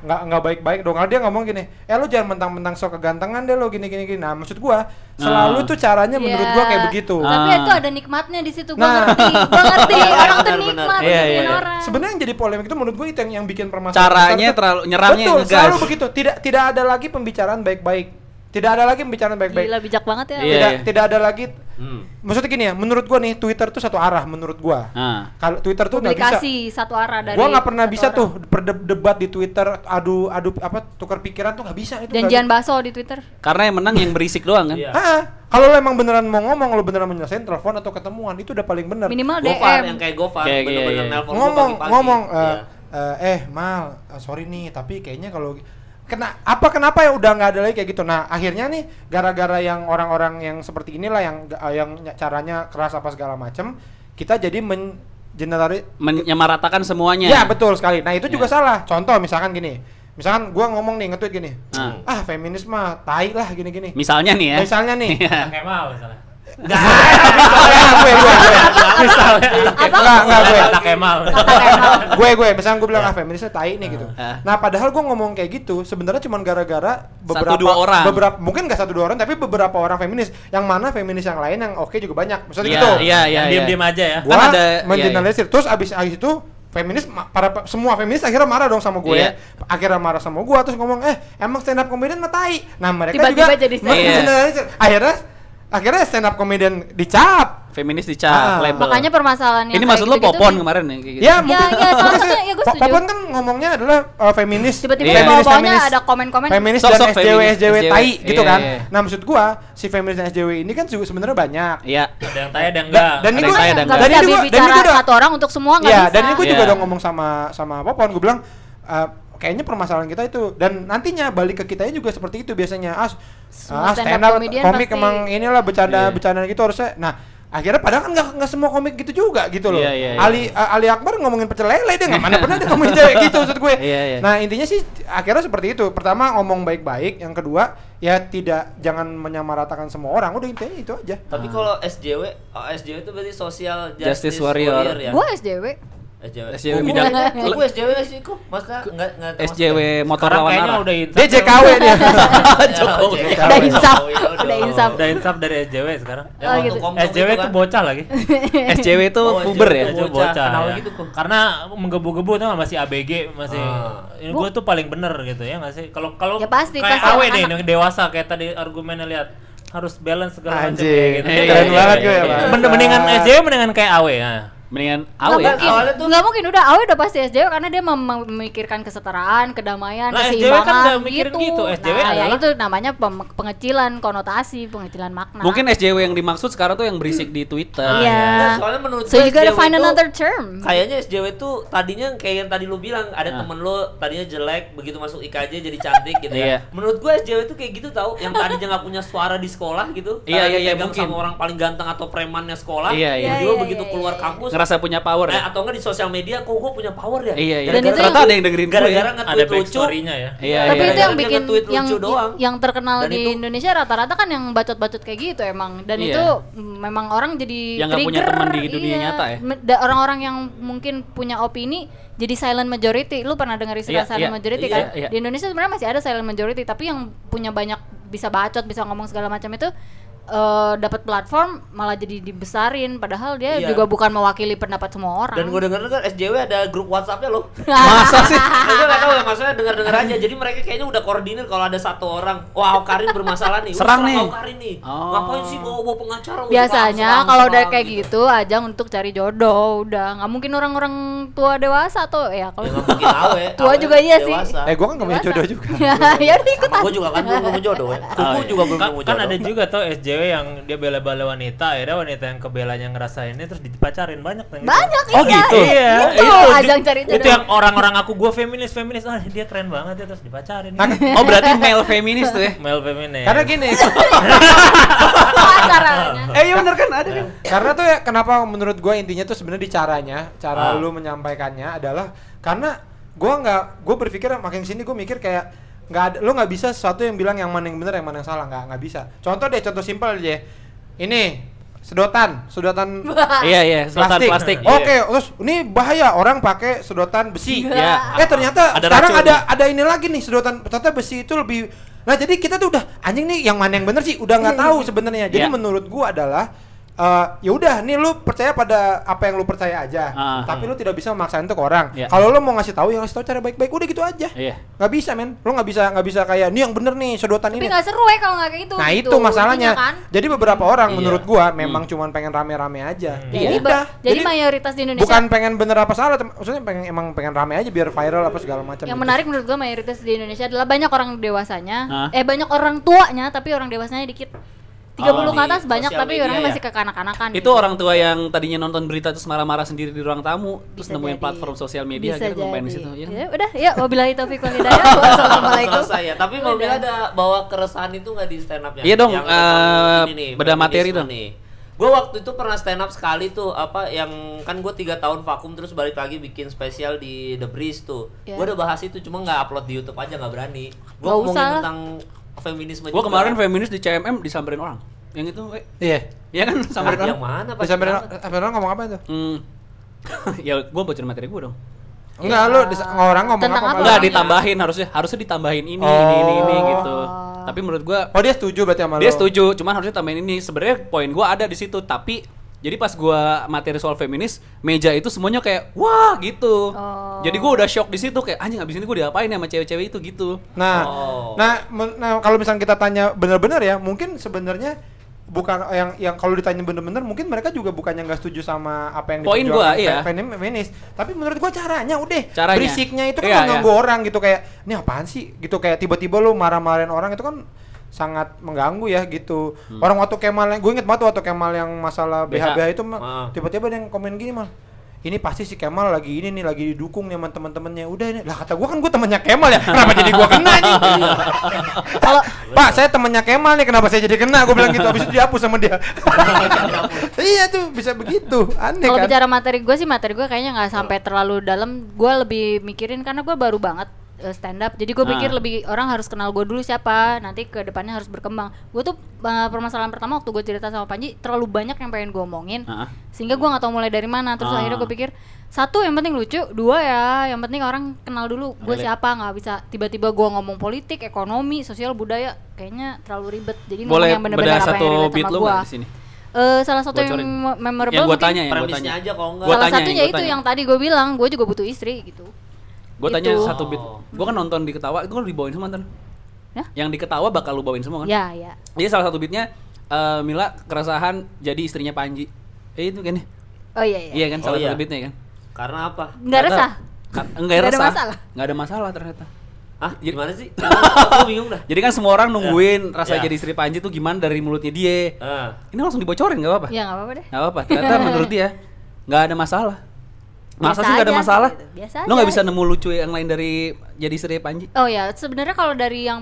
nggak nggak baik-baik dong. Kalau dia ngomong gini, eh lu jangan mentang-mentang sok kegantengan deh lo gini gini gini. Nah maksud gua selalu
Ah.
Nah.
tuh caranya menurut gua kayak
Iya.
begitu.
Tapi
Ah.
itu ada nikmatnya di situ. Gua
Nah.
ngerti, gua ngerti.
Iya,
Orang tuh
benar, benar.
nikmat
Iya,
ngikutin
iya, iya.
orang.
Sebenarnya yang jadi polemik itu menurut gue itu yang, yang bikin permasalahan.
Caranya
besar tuh-
terlalu- nyerangnya
Betul,
ngegas.
selalu begitu. Tidak tidak ada lagi pembicaraan baik-baik. Tidak ada lagi pembicaraan baik-baik.
Gila bijak banget ya.
Iya.
Tidak tidak ada lagi
Hmm.
Maksudnya gini ya, menurut gua nih Twitter tuh satu arah menurut gua.
Ah.
Kalau Twitter tuh nggak bisa.
Publikasi satu arah dari
Gua nggak pernah
satu
bisa
orang.
tuh berdebat di Twitter, adu adu apa tukar pikiran tuh nggak bisa itu. nggak
janjian
bisa.
bakso di Twitter.
Karena yang menang yang berisik doang kan?
Iya.
Ah, kalau lo emang beneran mau ngomong, lo beneran mau nyelesain telepon atau ketemuan itu udah paling bener.
Oh,
Minimal
Gofar
DM.
yang kayak Gofar
Kayak-
bener-bener
iya, iya.
nelpon gua
ngomong
pagi-pagi.
ngomong eh,
Iya.
eh, eh mal eh, sorry nih tapi kayaknya kalau kena apa kenapa ya udah nggak ada lagi kayak gitu nah akhirnya nih gara-gara yang orang-orang yang seperti inilah yang eh, yang caranya keras apa segala macem kita jadi men generali-
Menyamaratakan semuanya.
Ya betul sekali. Nah itu juga
Ya.
salah. Contoh misalkan gini, misalkan gua ngomong nih nge-tweet gini,
Ah.
ah feminis mah tai lah gini-gini.
Misalnya nih ya.
Misalnya nih,
Kayak mau misalnya.
misalnya gue gue gue,
Misalnya.
Apa?
Nggak, nggak, gue.
Kata Kemal.
Kata Kemal.
gue gue misalnya gue
Ya.
bilang ah feminisnya tai nih gitu
Ah.
nah padahal gue ngomong kayak gitu sebenarnya cuma gara-gara beberapa
dua orang.
beberapa mungkin gak satu dua orang tapi beberapa orang feminis yang mana feminis yang lain yang oke juga banyak maksudnya
Iya,
gitu
iya, iya. iya.
Diam-diam aja ya.
gue
Kan ada- iya,
menjinalisir terus abis abis itu feminis ma- para pe- semua feminis akhirnya marah dong sama gue
Iya.
akhirnya marah sama gue terus ngomong eh emang stand up comedian mah tai nah mereka
Tiba-tiba
juga
jadi
men-
stand up.
menjinalisir. akhirnya akhirnya stand up comedian dicap
Feminis dicap
Ah.
label.
Makanya permasalahannya.
gitu. Ini maksud lo popon kemarin ya? kayak gitu?
Ya,
Ya,
mungkin.
ya, salah
mungkin
satunya,
sih,
ya, gua
Pop-
setuju.
Popon kan ngomongnya adalah uh, feminis.
Tiba-tiba
Iya.
di bawah-bawahnya
feminis.
ada komen-komen.
Feminis
Sosok
dan SJW
feminis,
SJW tai
SJW.
gitu kan.
Iya, iya.
Nah, maksud gua si feminis dan SJW ini kan juga sebenarnya banyak.
Iya.
Ada yang tanya ada yang enggak.
dan ini
ada yang
gua
saya, ada
dan
yang
Gak
Dan
ini
bisa
gua dan ini
bicara
gua udah-
satu orang untuk semua Oh, nggak
Iya,
bisa.
dan ini gue juga
Iya.
udah ngomong sama sama Popon, gue bilang "Eh, kayaknya permasalahan kita itu dan nantinya balik ke kitanya juga seperti itu biasanya as
Semua
ah,
stand up
stand up
comedian
komik
pasti-
emang inilah
Iya.
bercanda bercanda gitu harusnya. Nah, akhirnya padahal kan nggak nggak semua komik gitu juga gitu loh.
Iya, iya, iya.
Ali eh, Ali Akbar ngomongin pecel lele dia nggak mana pernah dia ngomongin cewek gitu maksud gue.
Iya, iya.
Nah, intinya sih akhirnya seperti itu. Pertama ngomong baik-baik, yang kedua ya tidak jangan menyamaratakan semua orang. Udah intinya itu aja.
Tapi kalau SJW, oh, SJW itu berarti social
Justice
justice,
warrior.
warrior. ya.
Gue SJW.
SJW.
SJW
Oh,
bidang-
gua- gua- gua SJW gak sih kok? Masa enggak enggak termasuk
SJW
ya?
motor
Sekarang
lawan
kayaknya
arah.
udah
Dia
insaf.
JKW dia.
Iya, Jokowi.
Jokowi.
Udah insaf.
Jokowi Dodo.
Udah insaf.
Udah insaf dari SJW sekarang.
Yang
Oh,
waktu
gitu.
Komtok
SJW itu
kan.
bocah lagi.
SJW itu
Oh,
puber
SJW
ya.
itu
Itu
bocah.
bocah.
Kenapa
ya.
gitu, Kum?
Karena menggebu-gebu tuh masih ABG, masih
Ah.
ini gua tuh paling bener gitu ya nggak sih? Kalau kalau
Ya pasti,
kayak
pasti
awe
anak-anak.
deh yang dewasa kayak tadi argumennya lihat harus balance segala
Anjing,
macam kayak gitu.
keren
Iya, iya,
banget
iya,
gue ya,
iya.
Bang.
Men- Mendingan SJW mendingan kayak awe ya.
Mendingan
Nggak
awe. ya.
mungkin.
Awalnya tuh-
Nggak mungkin udah awalnya udah pasti SJW karena dia mem- memikirkan kesetaraan, kedamaian,
Nah, SJW kan
keseimbangan
nggak mikirin gitu. SJW
nah, ya
adalah-
itu namanya pem- pengecilan konotasi, pengecilan makna.
Mungkin SJW yang dimaksud sekarang tuh yang berisik di Twitter.
Iya.
Nah,
ya.
soalnya menurut
So
gua
you gotta
SJW
find
itu
another term.
Kayaknya SJW itu tadinya kayak yang tadi lu bilang ada
Ah.
temen lu tadinya jelek begitu masuk IKJ jadi cantik gitu
Iya.
ya. Menurut gua SJW itu kayak gitu tau yang tadinya nggak punya suara di sekolah gitu.
Iya,
karena
iya, iya,
dipegang
mungkin.
sama orang paling ganteng atau premannya sekolah.
Ah,
Iya, iya.
tiba-tiba
Iya, iya,
begitu
iya,
keluar
iya.
kampus
ngerasa punya power
Eh,
ya.
atau enggak di sosial media kok gue punya power ya
Iya, iya.
Dan itu
Ternyata
yang-
ada yang dengerin gue.
gara-gara
ya.
Ada
nge-tweet lucu
backstory-nya ya.
Iya,
Tapi
iya.
itu yang
Dia
bikin
nge-tweet lucu
yang
doang.
yang terkenal
Dan
di
itu-
Indonesia rata-rata kan yang bacot-bacot kayak gitu emang. Dan
Iya.
itu mm, memang orang jadi
Yang nggak punya
trigger,
teman di dunia
iya.
nyata ya?
Me- da- Orang-orang yang mungkin punya opini jadi silent majority. Lu pernah dengar istilah
Iya, iya,
silent majority
iya,
kan?
iya.
Di Indonesia sebenarnya masih ada silent majority, tapi yang punya banyak bisa bacot, bisa ngomong segala macam itu eh, dapat platform malah jadi dibesarin padahal dia
Iya.
juga bukan mewakili pendapat semua orang.
dan gue denger denger SJW ada grup WhatsAppnya loh
Masa sih?
gue gak tau ya maksudnya denger denger aja jadi mereka kayaknya udah koordinir kalau ada satu orang wah Aukarin bermasalah nih Wah,
Serang nih.
Aukarin nih
Oh.
ngapain sih bawa bawa pengacara Wah,
biasanya
serang,
kalau udah
serang,
kayak gitu aja untuk cari jodoh udah nggak mungkin orang-orang tua dewasa atau
ya
ya kalau
nggak mungkin awe
Tua juga iya sih.
Eh gue kan gak punya
Dewasa.
jodoh juga.
ya ya udah ikut
gue juga kan belum nemu jodoh ya
Oh,
kuku
iya.
juga belum
Kan,
nemu
kan
jodoh
ada juga tuh SJW yang dia bela-bela wanita, akhirnya wanita yang kebelanya ngerasain ini terus dipacarin banyak yang gitu.
Banyak,
Oh
iya.
gitu. Iya.
Itu
ju-
ajang cari
Itu
jodoh.
yang orang-orang aku gua feminis feminis ah dia keren banget ya terus dipacarin.
Oh berarti male feminis tuh ya?
Male feminis. Ah,
Karena gini,
pacarannya
Eh iya bener kan ada kan?
karena tuh ya kenapa menurut gue intinya tuh sebenarnya di caranya, cara
Ah.
lu menyampaikannya adalah karena gue nggak, gue berpikir makin sini gue mikir kayak nggak ada, lu nggak bisa sesuatu yang bilang yang mana yang benar yang mana yang salah nggak nggak bisa. Contoh deh, contoh simpel aja. Ini sedotan, sedotan
Iya iya, sedotan
plastik.
plastik.
Oke, terus ini bahaya orang pakai sedotan besi.
Iya.
Eh ternyata
Ada
sekarang
racun.
ada ada ini lagi nih sedotan ternyata besi itu lebih Nah, jadi kita tuh udah anjing nih yang mana yang bener sih udah nggak tahu sebenarnya. Jadi
Iya.
menurut gua adalah eh, ya udah nih lu percaya pada apa yang lu percaya aja.
Ah.
Tapi lu tidak bisa memaksain itu ke orang.
Iya.
Kalau lu mau ngasih tahu ya kasih tahu cara baik-baik udah gitu aja.
Iya.
Nggak bisa, men. Lu nggak bisa nggak bisa kayak ini yang bener nih sedotan
tapi
ini.
nggak seru ya kalau nggak kayak gitu
Nah,
gitu.
itu masalahnya.
Intinya kan?
Jadi beberapa orang
Iya.
menurut gua memang cuman pengen rame-rame aja.
Iya.
jadi,
Ya
ba-
udah.
jadi mayoritas di Indonesia
Bukan pengen bener apa salah, tem- maksudnya pengen emang pengen rame aja biar viral apa segala macam.
yang
gitu.
menarik menurut gua mayoritas di Indonesia adalah banyak orang dewasanya
Hah?
eh banyak orang tuanya tapi orang dewasanya dikit 30
Oh,
ke atas
di
banyak
sosial
tapi
media
orangnya
ya?
masih gitu. kekanak-kanakan
Itu orang tua yang tadinya nonton berita terus marah-marah sendiri di ruang tamu, terus
Bisa
nemuin
jadi.
platform sosial media
Bisa
akhirnya ngomongin di
jadi.
situ. Iya.
Ya, udah ya wabillahi taufiq wal hidayah wassalamualaikum
selesai ya tapi mau bilang ada bawa keresahan itu nggak di stand upnya
Iya dong,
Yang
eh,
tentang ini nih,
beda materi
feminisme
dong.
nih gue waktu itu pernah stand up sekali tuh apa yang kan gue tiga tahun vakum terus balik lagi bikin spesial di The Breeze tuh
Iya.
gue udah bahas itu cuma nggak upload di YouTube aja nggak berani gue
Nggak
ngomongin
usah lah.
tentang feminisme
Gua
juga.
kemarin feminis di CMM disamperin orang. Yang itu eh,
Iya.
ya kan
Ah,
samperin orang.
yang mana Pak?
Disamperin samperin orang ngomong apa itu?
Hmm. ya gua bocorin materi gua dong.
Enggak, lu dis- orang ngomong
Iya. Tentang
apa?
apa?
Enggak
orangnya.
ditambahin harusnya harusnya ditambahin ini
Oh.
ini ini ini gitu. Tapi menurut gua
Oh, dia setuju berarti sama lu.
dia setuju, cuman harusnya tambahin ini. Sebenarnya poin gua ada di situ, tapi jadi pas gua materi soal feminis, meja itu semuanya kayak wah gitu.
Oh.
Jadi gua udah shock di situ kayak anjing abis ini gua diapain ya sama cewek-cewek itu gitu.
Nah,
Oh.
nah, men- nah kalau misalnya kita tanya benar-benar ya, mungkin sebenarnya bukan yang yang kalau ditanya bener-bener mungkin mereka juga bukannya nggak setuju sama apa yang
Poin gua, iya.
fe- femi- feminis tapi menurut gua caranya udah
Caranya.
berisiknya itu kan
Iya,
mengganggu orang gitu kayak ini apaan sih gitu kayak tiba-tiba lu marah-marahin orang itu kan sangat mengganggu ya gitu
Hmm.
orang waktu Kemal yang gue inget banget waktu Kemal yang masalah
BH.
BH Nah, itu mah,
Ah.
tiba-tiba ada yang komen gini mal ini pasti si Kemal lagi ini nih lagi didukung nih sama teman-temannya udah ini lah kata gua kan gua temennya Kemal ya kenapa jadi gua kena nih kalau Pak saya temennya Kemal nih kenapa saya jadi kena gua bilang gitu habis itu dihapus sama dia iya tuh bisa begitu aneh
Kalau
kan
bicara materi gue sih materi gue kayaknya nggak
Oh.
sampai terlalu dalam. Gue lebih mikirin karena gue baru banget eh, stand up. Jadi gue pikir
Ah.
lebih orang harus kenal gue dulu siapa. Nanti ke depannya harus berkembang. Gue tuh eh, permasalahan pertama waktu gue cerita sama Panji terlalu banyak yang pengen gue omongin.
Ah.
Sehingga gue nggak tahu mulai dari mana. Terus
Ah.
akhirnya gue pikir satu yang penting lucu, dua ya yang penting orang kenal dulu gue
Relate.
siapa. Nggak bisa tiba-tiba gue ngomong politik, ekonomi, sosial, budaya. Kayaknya terlalu ribet. Jadi ngomong
Boleh
yang bener-bener
bedah
apa
satu
yang relate
beat
sama
lu
gue.
nggak di sini?
Eh, salah satu
Bocorin.
yang me- memorable
Yang gua
mungkin-
tanya, yang gua
premisnya
tanya.
aja kalau enggak
Gua
salah
tanya,
satunya
gua
itu
tanya.
yang tadi gue bilang gue juga butuh istri gitu
Gue tanya
Gitu.
satu bit.
Oh.
Gue kan nonton di Ketawa, gue dibawain semua ntar.
Hah?
Yang di Ketawa bakal lu bawain semua kan?
ya ya
Jadi salah satu bitnya eh, Mila keresahan jadi istrinya Panji. Eh, itu kan ya?
oh iya iya
Iya kan
Oh,
salah
iya.
satu bitnya kan?
karena apa
nggak
Ternyata-
resah
Ka- Enggak
Nggak ada
resah.
masalah.
Nggak ada masalah ternyata.
ah
Iya.
Jadi-
gimana sih gue bingung dah
Jadi kan semua orang nungguin rasa
Ya.
jadi istri Panji tuh gimana dari mulutnya dia.
Ah.
Ini langsung dibocorin nggak apa-apa?
ya nggak apa-apa deh
Nggak apa-apa. Ternyata menurut dia nggak ada masalah. Masa
Iya. Biasa
sih nggak ada
aja,
masalah?
gitu. Biasa
Lo nggak
aja.
bisa nemu lucu yang lain dari jadi istri Panji?
oh ya sebenarnya kalau dari yang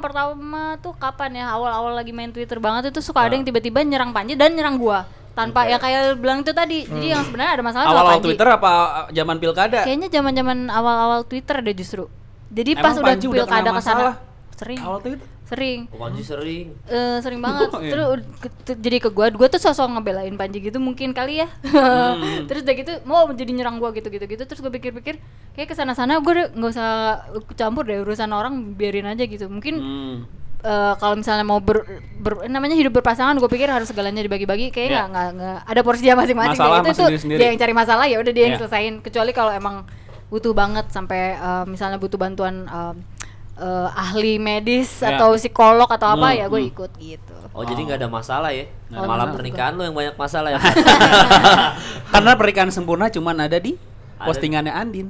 Ah.
pertama tuh kapan ya awal-awal lagi main twitter banget itu suka ada yang tiba-tiba nyerang Panji dan nyerang gue tanpa yang kayak lu bilang itu tadi. Jadi yang sebenarnya ada masalah sama
Hmm. Awal-awal
Panji.
Twitter apa uh, zaman pilkada?
Kayaknya zaman-zaman awal-awal Twitter deh justru. Jadi
Emang
pas udah
Panji udah kena
pilkada ke sana
masalah?
sering.
Awal Twitter.
Sering.
Panji sering.
Eh, sering banget
Oh, iya.
terus ud- ke- te- jadi ke gua gua tuh sosok ngebelain Panji gitu mungkin kali ya
Hmm.
terus udah gitu mau jadi nyerang gua gitu gitu gitu terus gua pikir-pikir kayak kesana sana gua udah nggak usah campur deh urusan orang biarin aja gitu mungkin
Hmm.
eh, kalau misalnya mau ber, ber- namanya hidup berpasangan gua pikir harus segalanya dibagi-bagi kayak
Iya.
nggak nggak nggak ada porsi dia masing-masing
Masalah
Kayak gitu
sama sendiri-sendiri.
dia yang cari masalah ya udah dia yang
Iya.
selesain kecuali kalau emang butuh banget sampai eh, misalnya butuh bantuan em, eh, ahli medis
Iya.
atau psikolog atau apa
Hmm,
ya gue
hmm.
ikut gitu
Oh, jadi nggak ada masalah ya?
Nggak ada
Malah
masalah.
pernikahan lo yang banyak masalah ya.
Karena pernikahan sempurna cuman ada di
Ada.
postingannya Andin.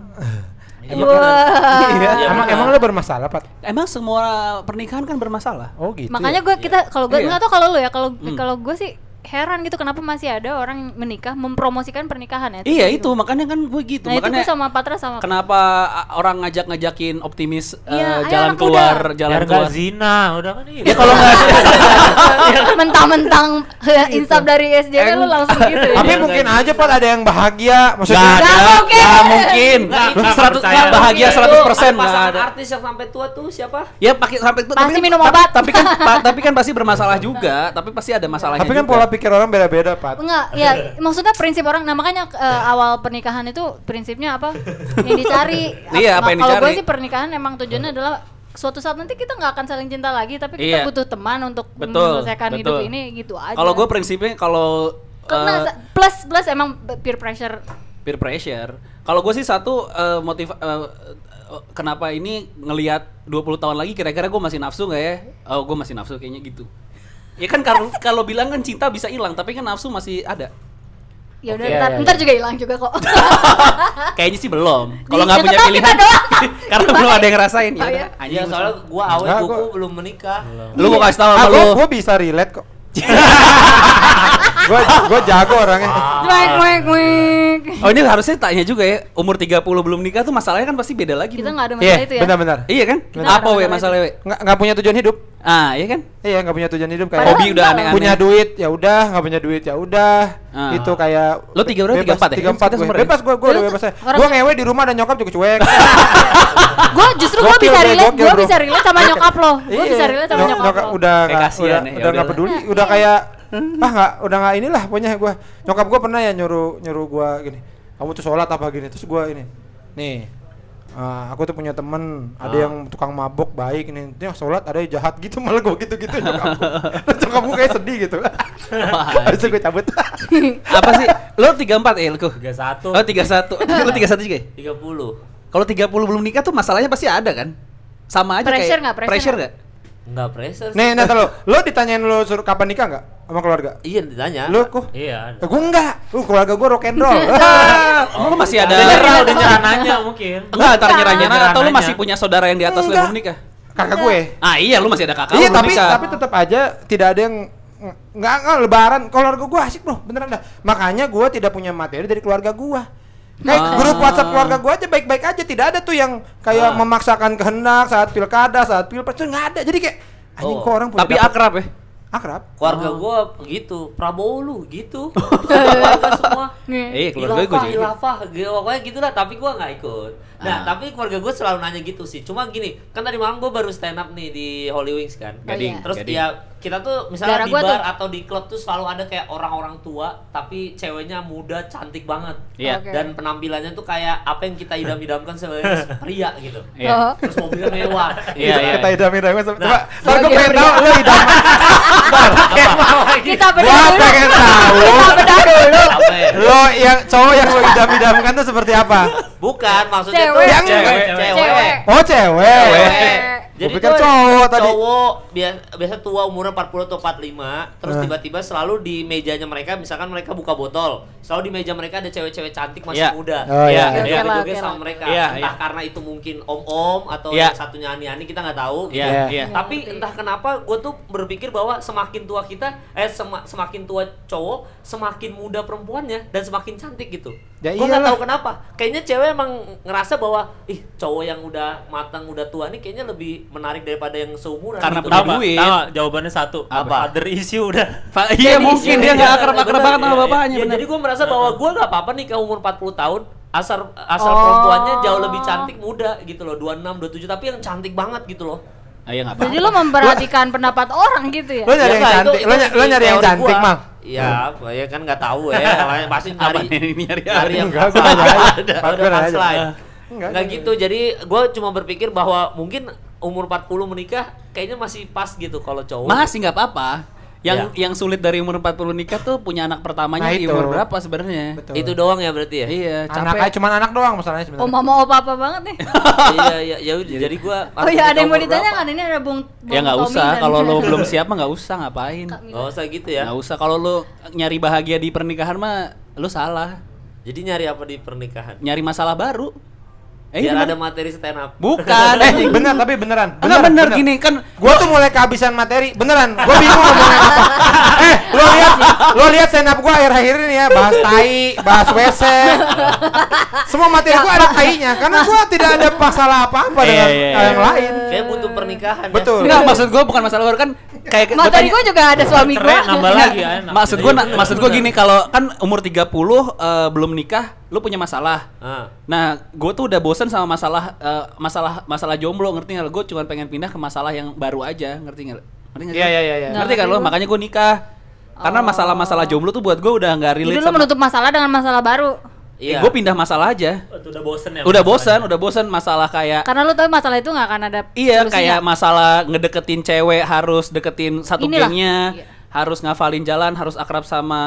Iya, bener.
kan?
Iya,
emang
bener.
emang lo bermasalah pat
Emang semua pernikahan kan bermasalah.
oh gitu
Makanya
ya?
gue kita kalau gue
Iya.
nggak tau kalau lu ya kalau kalau gue sih heran gitu kenapa masih ada orang menikah mempromosikan pernikahan ya.
Iya itu makanya kan gue gitu.
Nah itu
makanya
gue sama Patra sama
kenapa a- orang ngajak-ngajakin optimis eh,
Iya, ayo
jalan
anak
keluar,
muda.
jalan
Biar nggak
keluar.
zina, udah kan
Ya
iya.
kalau nggak
mentang-mentang
Gitu.
insaf dari SJW lu langsung gitu ya.
tapi
Iya,
mungkin
nggak
aja pat ada yang bahagia
Nggak
maksudnya
ada,
mungkin.
nggak mungkin.
Nggak,
Lu
nggak
seratus-
percaya.
nggak bahagia
Itu
100% persen
ada pasangan
ada.
artis yang sampai tua tuh siapa?
Ya pakai sampai itu
Pasti
kan-
minum
tapi-
obat.
Tapi kan pa- tapi kan pasti bermasalah juga, tapi pasti ada masalahnya.
tapi kan
juga.
pola pikir orang beda-beda pat
Enggak, ya maksudnya prinsip orang, nah makanya eh, awal pernikahan itu prinsipnya apa? Yang dicari.
Iya, apa yang
Kalau gue
dicari?
sih pernikahan emang tujuannya adalah suatu saat nanti kita nggak akan saling cinta lagi, tapi kita
Iya.
butuh teman untuk
Betul,
menyelesaikan hidup
betul.
ini gitu aja.
Kalau gue prinsipnya kalau
Karena
eh,
sa- plus plus emang peer pressure
peer pressure. Kalau gue sih satu eh, motiv eh, eh, kenapa ini ngelihat 20 tahun lagi kira-kira gue masih nafsu nggak ya? Oh, gue masih nafsu kayaknya gitu. Ya kan kalau kalau bilang kan cinta bisa hilang, tapi kan nafsu masih ada.
ya udah
Oke.
ntar,
Iya, iya,
ntar
iya.
juga hilang juga kok
Kayaknya sih belum. Kalau nggak
Ya,
punya
tetap kita
pilihan,
doang.
karena
Gimana?
belum ada yang ngerasain ya.
Oh, iya.
udah, Anjing,
Iya, soalnya iya. Ah, gua awet
Nggak,
buku
gua- Iya.
belum menikah.
lu gue kasih tau sama lu.
Aku gue Ah, bisa relate kok. gue gue jago orangnya.
Ah.
cuek cuek cuek
Oh ini harusnya tanya juga ya, umur 30 belum nikah tuh masalahnya kan pasti beda lagi.
kita
Bun.
nggak ada
Iya,
masalah itu ya
benar-benar.
Iya kan?
Kita nggak
Apa
ada
we
masalah
masalah we?
Nggak nggak punya tujuan hidup.
Ah, iya kan?
Iya, nggak punya tujuan hidup kayak
Padahal
Hobi udah
enggak.
aneh-aneh.
punya duit ya udah, nggak punya duit ya udah.
Ah.
Itu kayak
Lo tiga berapa? Tiga empat ya?
Tiga empat
Kita
gue.
sumber ya?
Bebas gue gue udah
Lu
bebas.
tuh orang-
Gue ngewe di rumah ada nyokap juga cuek.
gue justru gue
Gokil, eh,
bisa
gokil,
relate gue
bro.
bisa relate sama nyokap lo gue
Iya.
bisa relate sama
Nyok-
nyokap lo
udah
Eh,
nggak
kasihan
udah
ya,
udah nggak
udahlah.
peduli, udah kayak ah nggak udah nggak inilah pokoknya gue nyokap gue pernah ya nyuruh nyuruh gue gini kamu tuh sholat apa gini terus gue ini nih ah, aku tuh punya temen ada
Ah.
yang tukang mabok baik ini dia sholat ada yang jahat gitu malah gue gitu gitu nyokap gue terus nyokap gue kayak sedih gitu habis itu gue cabut
Apa sih? Lo 34 ya, Elku?
31.
Oh 31. Lo 31 juga ya?
30.
Kalau 30 belum nikah tuh masalahnya pasti ada kan? Sama aja kayak
Pressure nggak? Pressure
pressure
nggak?
nggak?
Enggak pressure. sih.
nih Nata lo lo ditanyain lo suruh kapan nikah nggak sama keluarga
Iya ditanya.
lo kok
Iya. ada.
gue enggak uh keluarga gue rock and roll
Nah. Iya.
Emang Ah, lo masih ada
Oh, Udah nyerah, udah nyerah nanya mungkin.
Enggak, antar
Bukan.
nyerah-nyerah atau lo
Nyerah-nyerah.
masih punya saudara yang di atas lo yang
Enggak.
belum nikah?
kakak gue
Ah iya, lo masih ada kakak lo
iya
belum
tapi
nikah.
tapi tetap aja tidak ada yang nggak nggak lebaran keluarga gue asik bro beneran dah makanya gue tidak punya materi dari keluarga gue kayak
Ah.
grup WhatsApp keluarga gue aja baik-baik aja tidak ada tuh yang kayak memaksakan kehendak saat pilkada saat pilpres tuh nggak ada jadi kayak anjing
Oh,
kok orang punya
Tapi
dapet-
akrab ya?
akrab
Keluarga gua gitu, Prabowo lu gitu. Keluarga semua.
Iya,
Nih.
keluarga gue
Ilafah,
juga. gitu.
ilafah, gitu. pokoknya gitulah. Tapi gua nggak ikut. Nah,
Ah.
tapi keluarga gua selalu nanya gitu sih. Cuma gini, kan tadi malam gua baru stand up nih di Holy Wings kan.
Oh, Gading, iya.
Terus
gading.
dia kita tuh misalnya
Darah
di
gua
bar
tuh.
atau di klub tuh selalu ada kayak orang-orang tua, tapi ceweknya muda, cantik banget.
Iya.
Oke.
Dan penampilannya tuh kayak apa yang kita idam-idamkan sebagai pria gitu.
Iya.
Oh.
Terus mobilnya mewah.
Iya,
gitu
iya.
kan.
kita idamin aja coba
Nah,
ntar gue pengen tahu lo idam
kita bedah
gue
dulu
pengen tahu
kita bedah dulu
Capek.
lo yang cowok yang lo idam-idamkan tuh seperti apa
Bukan maksudnya
Cewek.
tuh
Yang-
cewek,
Cewek.
cewek.
oh cewek,
Cewek.
Gua pikir cowok tadi.
Cowok biasa, biasa tua umurnya 40 atau 45, terus
Eh.
tiba-tiba selalu di mejanya mereka misalkan mereka buka botol, selalu di meja mereka ada cewek-cewek cantik masih
Iya.
muda.
Oh, iya,
iya.
Dan kita
Oke lah,
joget
oke
sama
lah.
mereka.
Iya,
entah
iya.
karena itu mungkin om-om atau
Iya.
yang satunya ani-ani kita nggak tahu.
Iya,
Iya.
iya.
Tapi
Ngerti.
entah kenapa gue tuh berpikir bahwa semakin tua kita eh sema- semakin tua cowok, semakin muda perempuannya dan semakin cantik gitu.
Ya
gue nggak
iyalah.
tahu kenapa. Kayaknya cewek emang ngerasa bahwa ih cowok yang udah matang udah tua nih kayaknya lebih lebih menarik daripada yang seumuran
Karena
gitu.
punya
Tahu nggak?
duit.
Tahu nggak? jawabannya satu.
Apa?
Other issue udah.
Fa- iya mungkin dia nggak akrab akrab
Bener,
banget sama
iya, iya.
bapaknya.
Ya,
bener.
jadi gue merasa bahwa gue nggak apa-apa nih ke umur 40 tahun asal asal
Oh.
perempuannya jauh lebih cantik muda gitu loh 26 27 tapi yang cantik banget gitu loh
Ah, iya nggak
Jadi
apa-apa.
lo memperhatikan pendapat orang gitu ya?
Lo nyari yang
nggak, itu-
cantik,
itu
lo ny- lo
di
nyari yang
teori
cantik,
gua.
Mang.
Iya, gua ya kan nggak tahu ya. Yang lain Pasti nyari
Apa ini nyari
nyari yang
Enggak, gua
apa.
nanya aja.
Ada,
Pas
ada
gua nanya aja.
punchline.
Enggak,
Nggak
gua-
gitu. Jadi gue cuma berpikir bahwa mungkin umur 40 menikah kayaknya masih pas gitu kalau
Oh.
cowok.
Masih nggak apa-apa. Yang yang sulit dari umur 40 nikah tuh punya anak pertamanya
Ya. Nah,
di
itu.
umur berapa sebenarnya?
Betul.
Itu doang ya berarti ya?
Iya,
anak aja cuman anak doang masalahnya
Oh
sebenarnya.
mama opa apa banget nih?
iya, iya, ya udah. Jadi gue
Oh ya ada yang mau ditanya kan ini ada bung. Bung
Ya nggak
Tommy
usah
dan-
kalau lo belum siap mah nggak usah ngapain.
Kak Mila.
Gak usah gitu ya.
Nggak usah kalau lo nyari bahagia di pernikahan mah lo salah.
Jadi nyari apa di pernikahan?
Nyari masalah baru. Eh,
Biar
bener.
ada materi stand up.
Bukan.
Eh, bener tapi beneran.
Enggak bener gini kan
Gua tuh mulai kehabisan materi, beneran. Gua bingung ngomongin apa. Eh, lo lihat, lo lihat stand up gua akhir-akhir ini ya, bahas tai, bahas WC. Semua materi gua ada tainya karena gua tidak ada masalah apa-apa
Iya,
dengan
iya,
hal yang
iya.
lain.
Kayak butuh pernikahan. ya.
Betul.
Enggak, maksud gua bukan masalah baru kan kayak gua
Materi
tanya-
gue juga ada suami gue.
Cerai nambah lagi ya. enak.
Maksud
Iya,
gua na- maksud gua gini kalau kan umur 30 eh, belum nikah lu punya masalah.
Ah.
Nah, gue tuh udah bosen sama masalah eh, masalah masalah jomblo ngerti nggak? Gue cuma pengen pindah ke masalah yang baru aja ngerti nggak? Ngerti nggak? sih?
Iya, iya, iya, iya.
Ngerti kan lo? Makanya gue nikah. Karena masalah-masalah jomblo tuh buat gue udah nggak
Jadi
relate
Oh. lo
sama.
menutup masalah dengan masalah baru.
Eh,
Iya.
Gue pindah masalah aja.
Udah bosen ya.
Udah bosen, udah bosen masalah kayak
Karena lo tahu masalah itu nggak akan ada.
iya
solusinya.
kayak masalah ngedeketin cewek harus deketin satu
Inilah.
gengnya,
Iya.
harus ngafalin jalan, harus akrab sama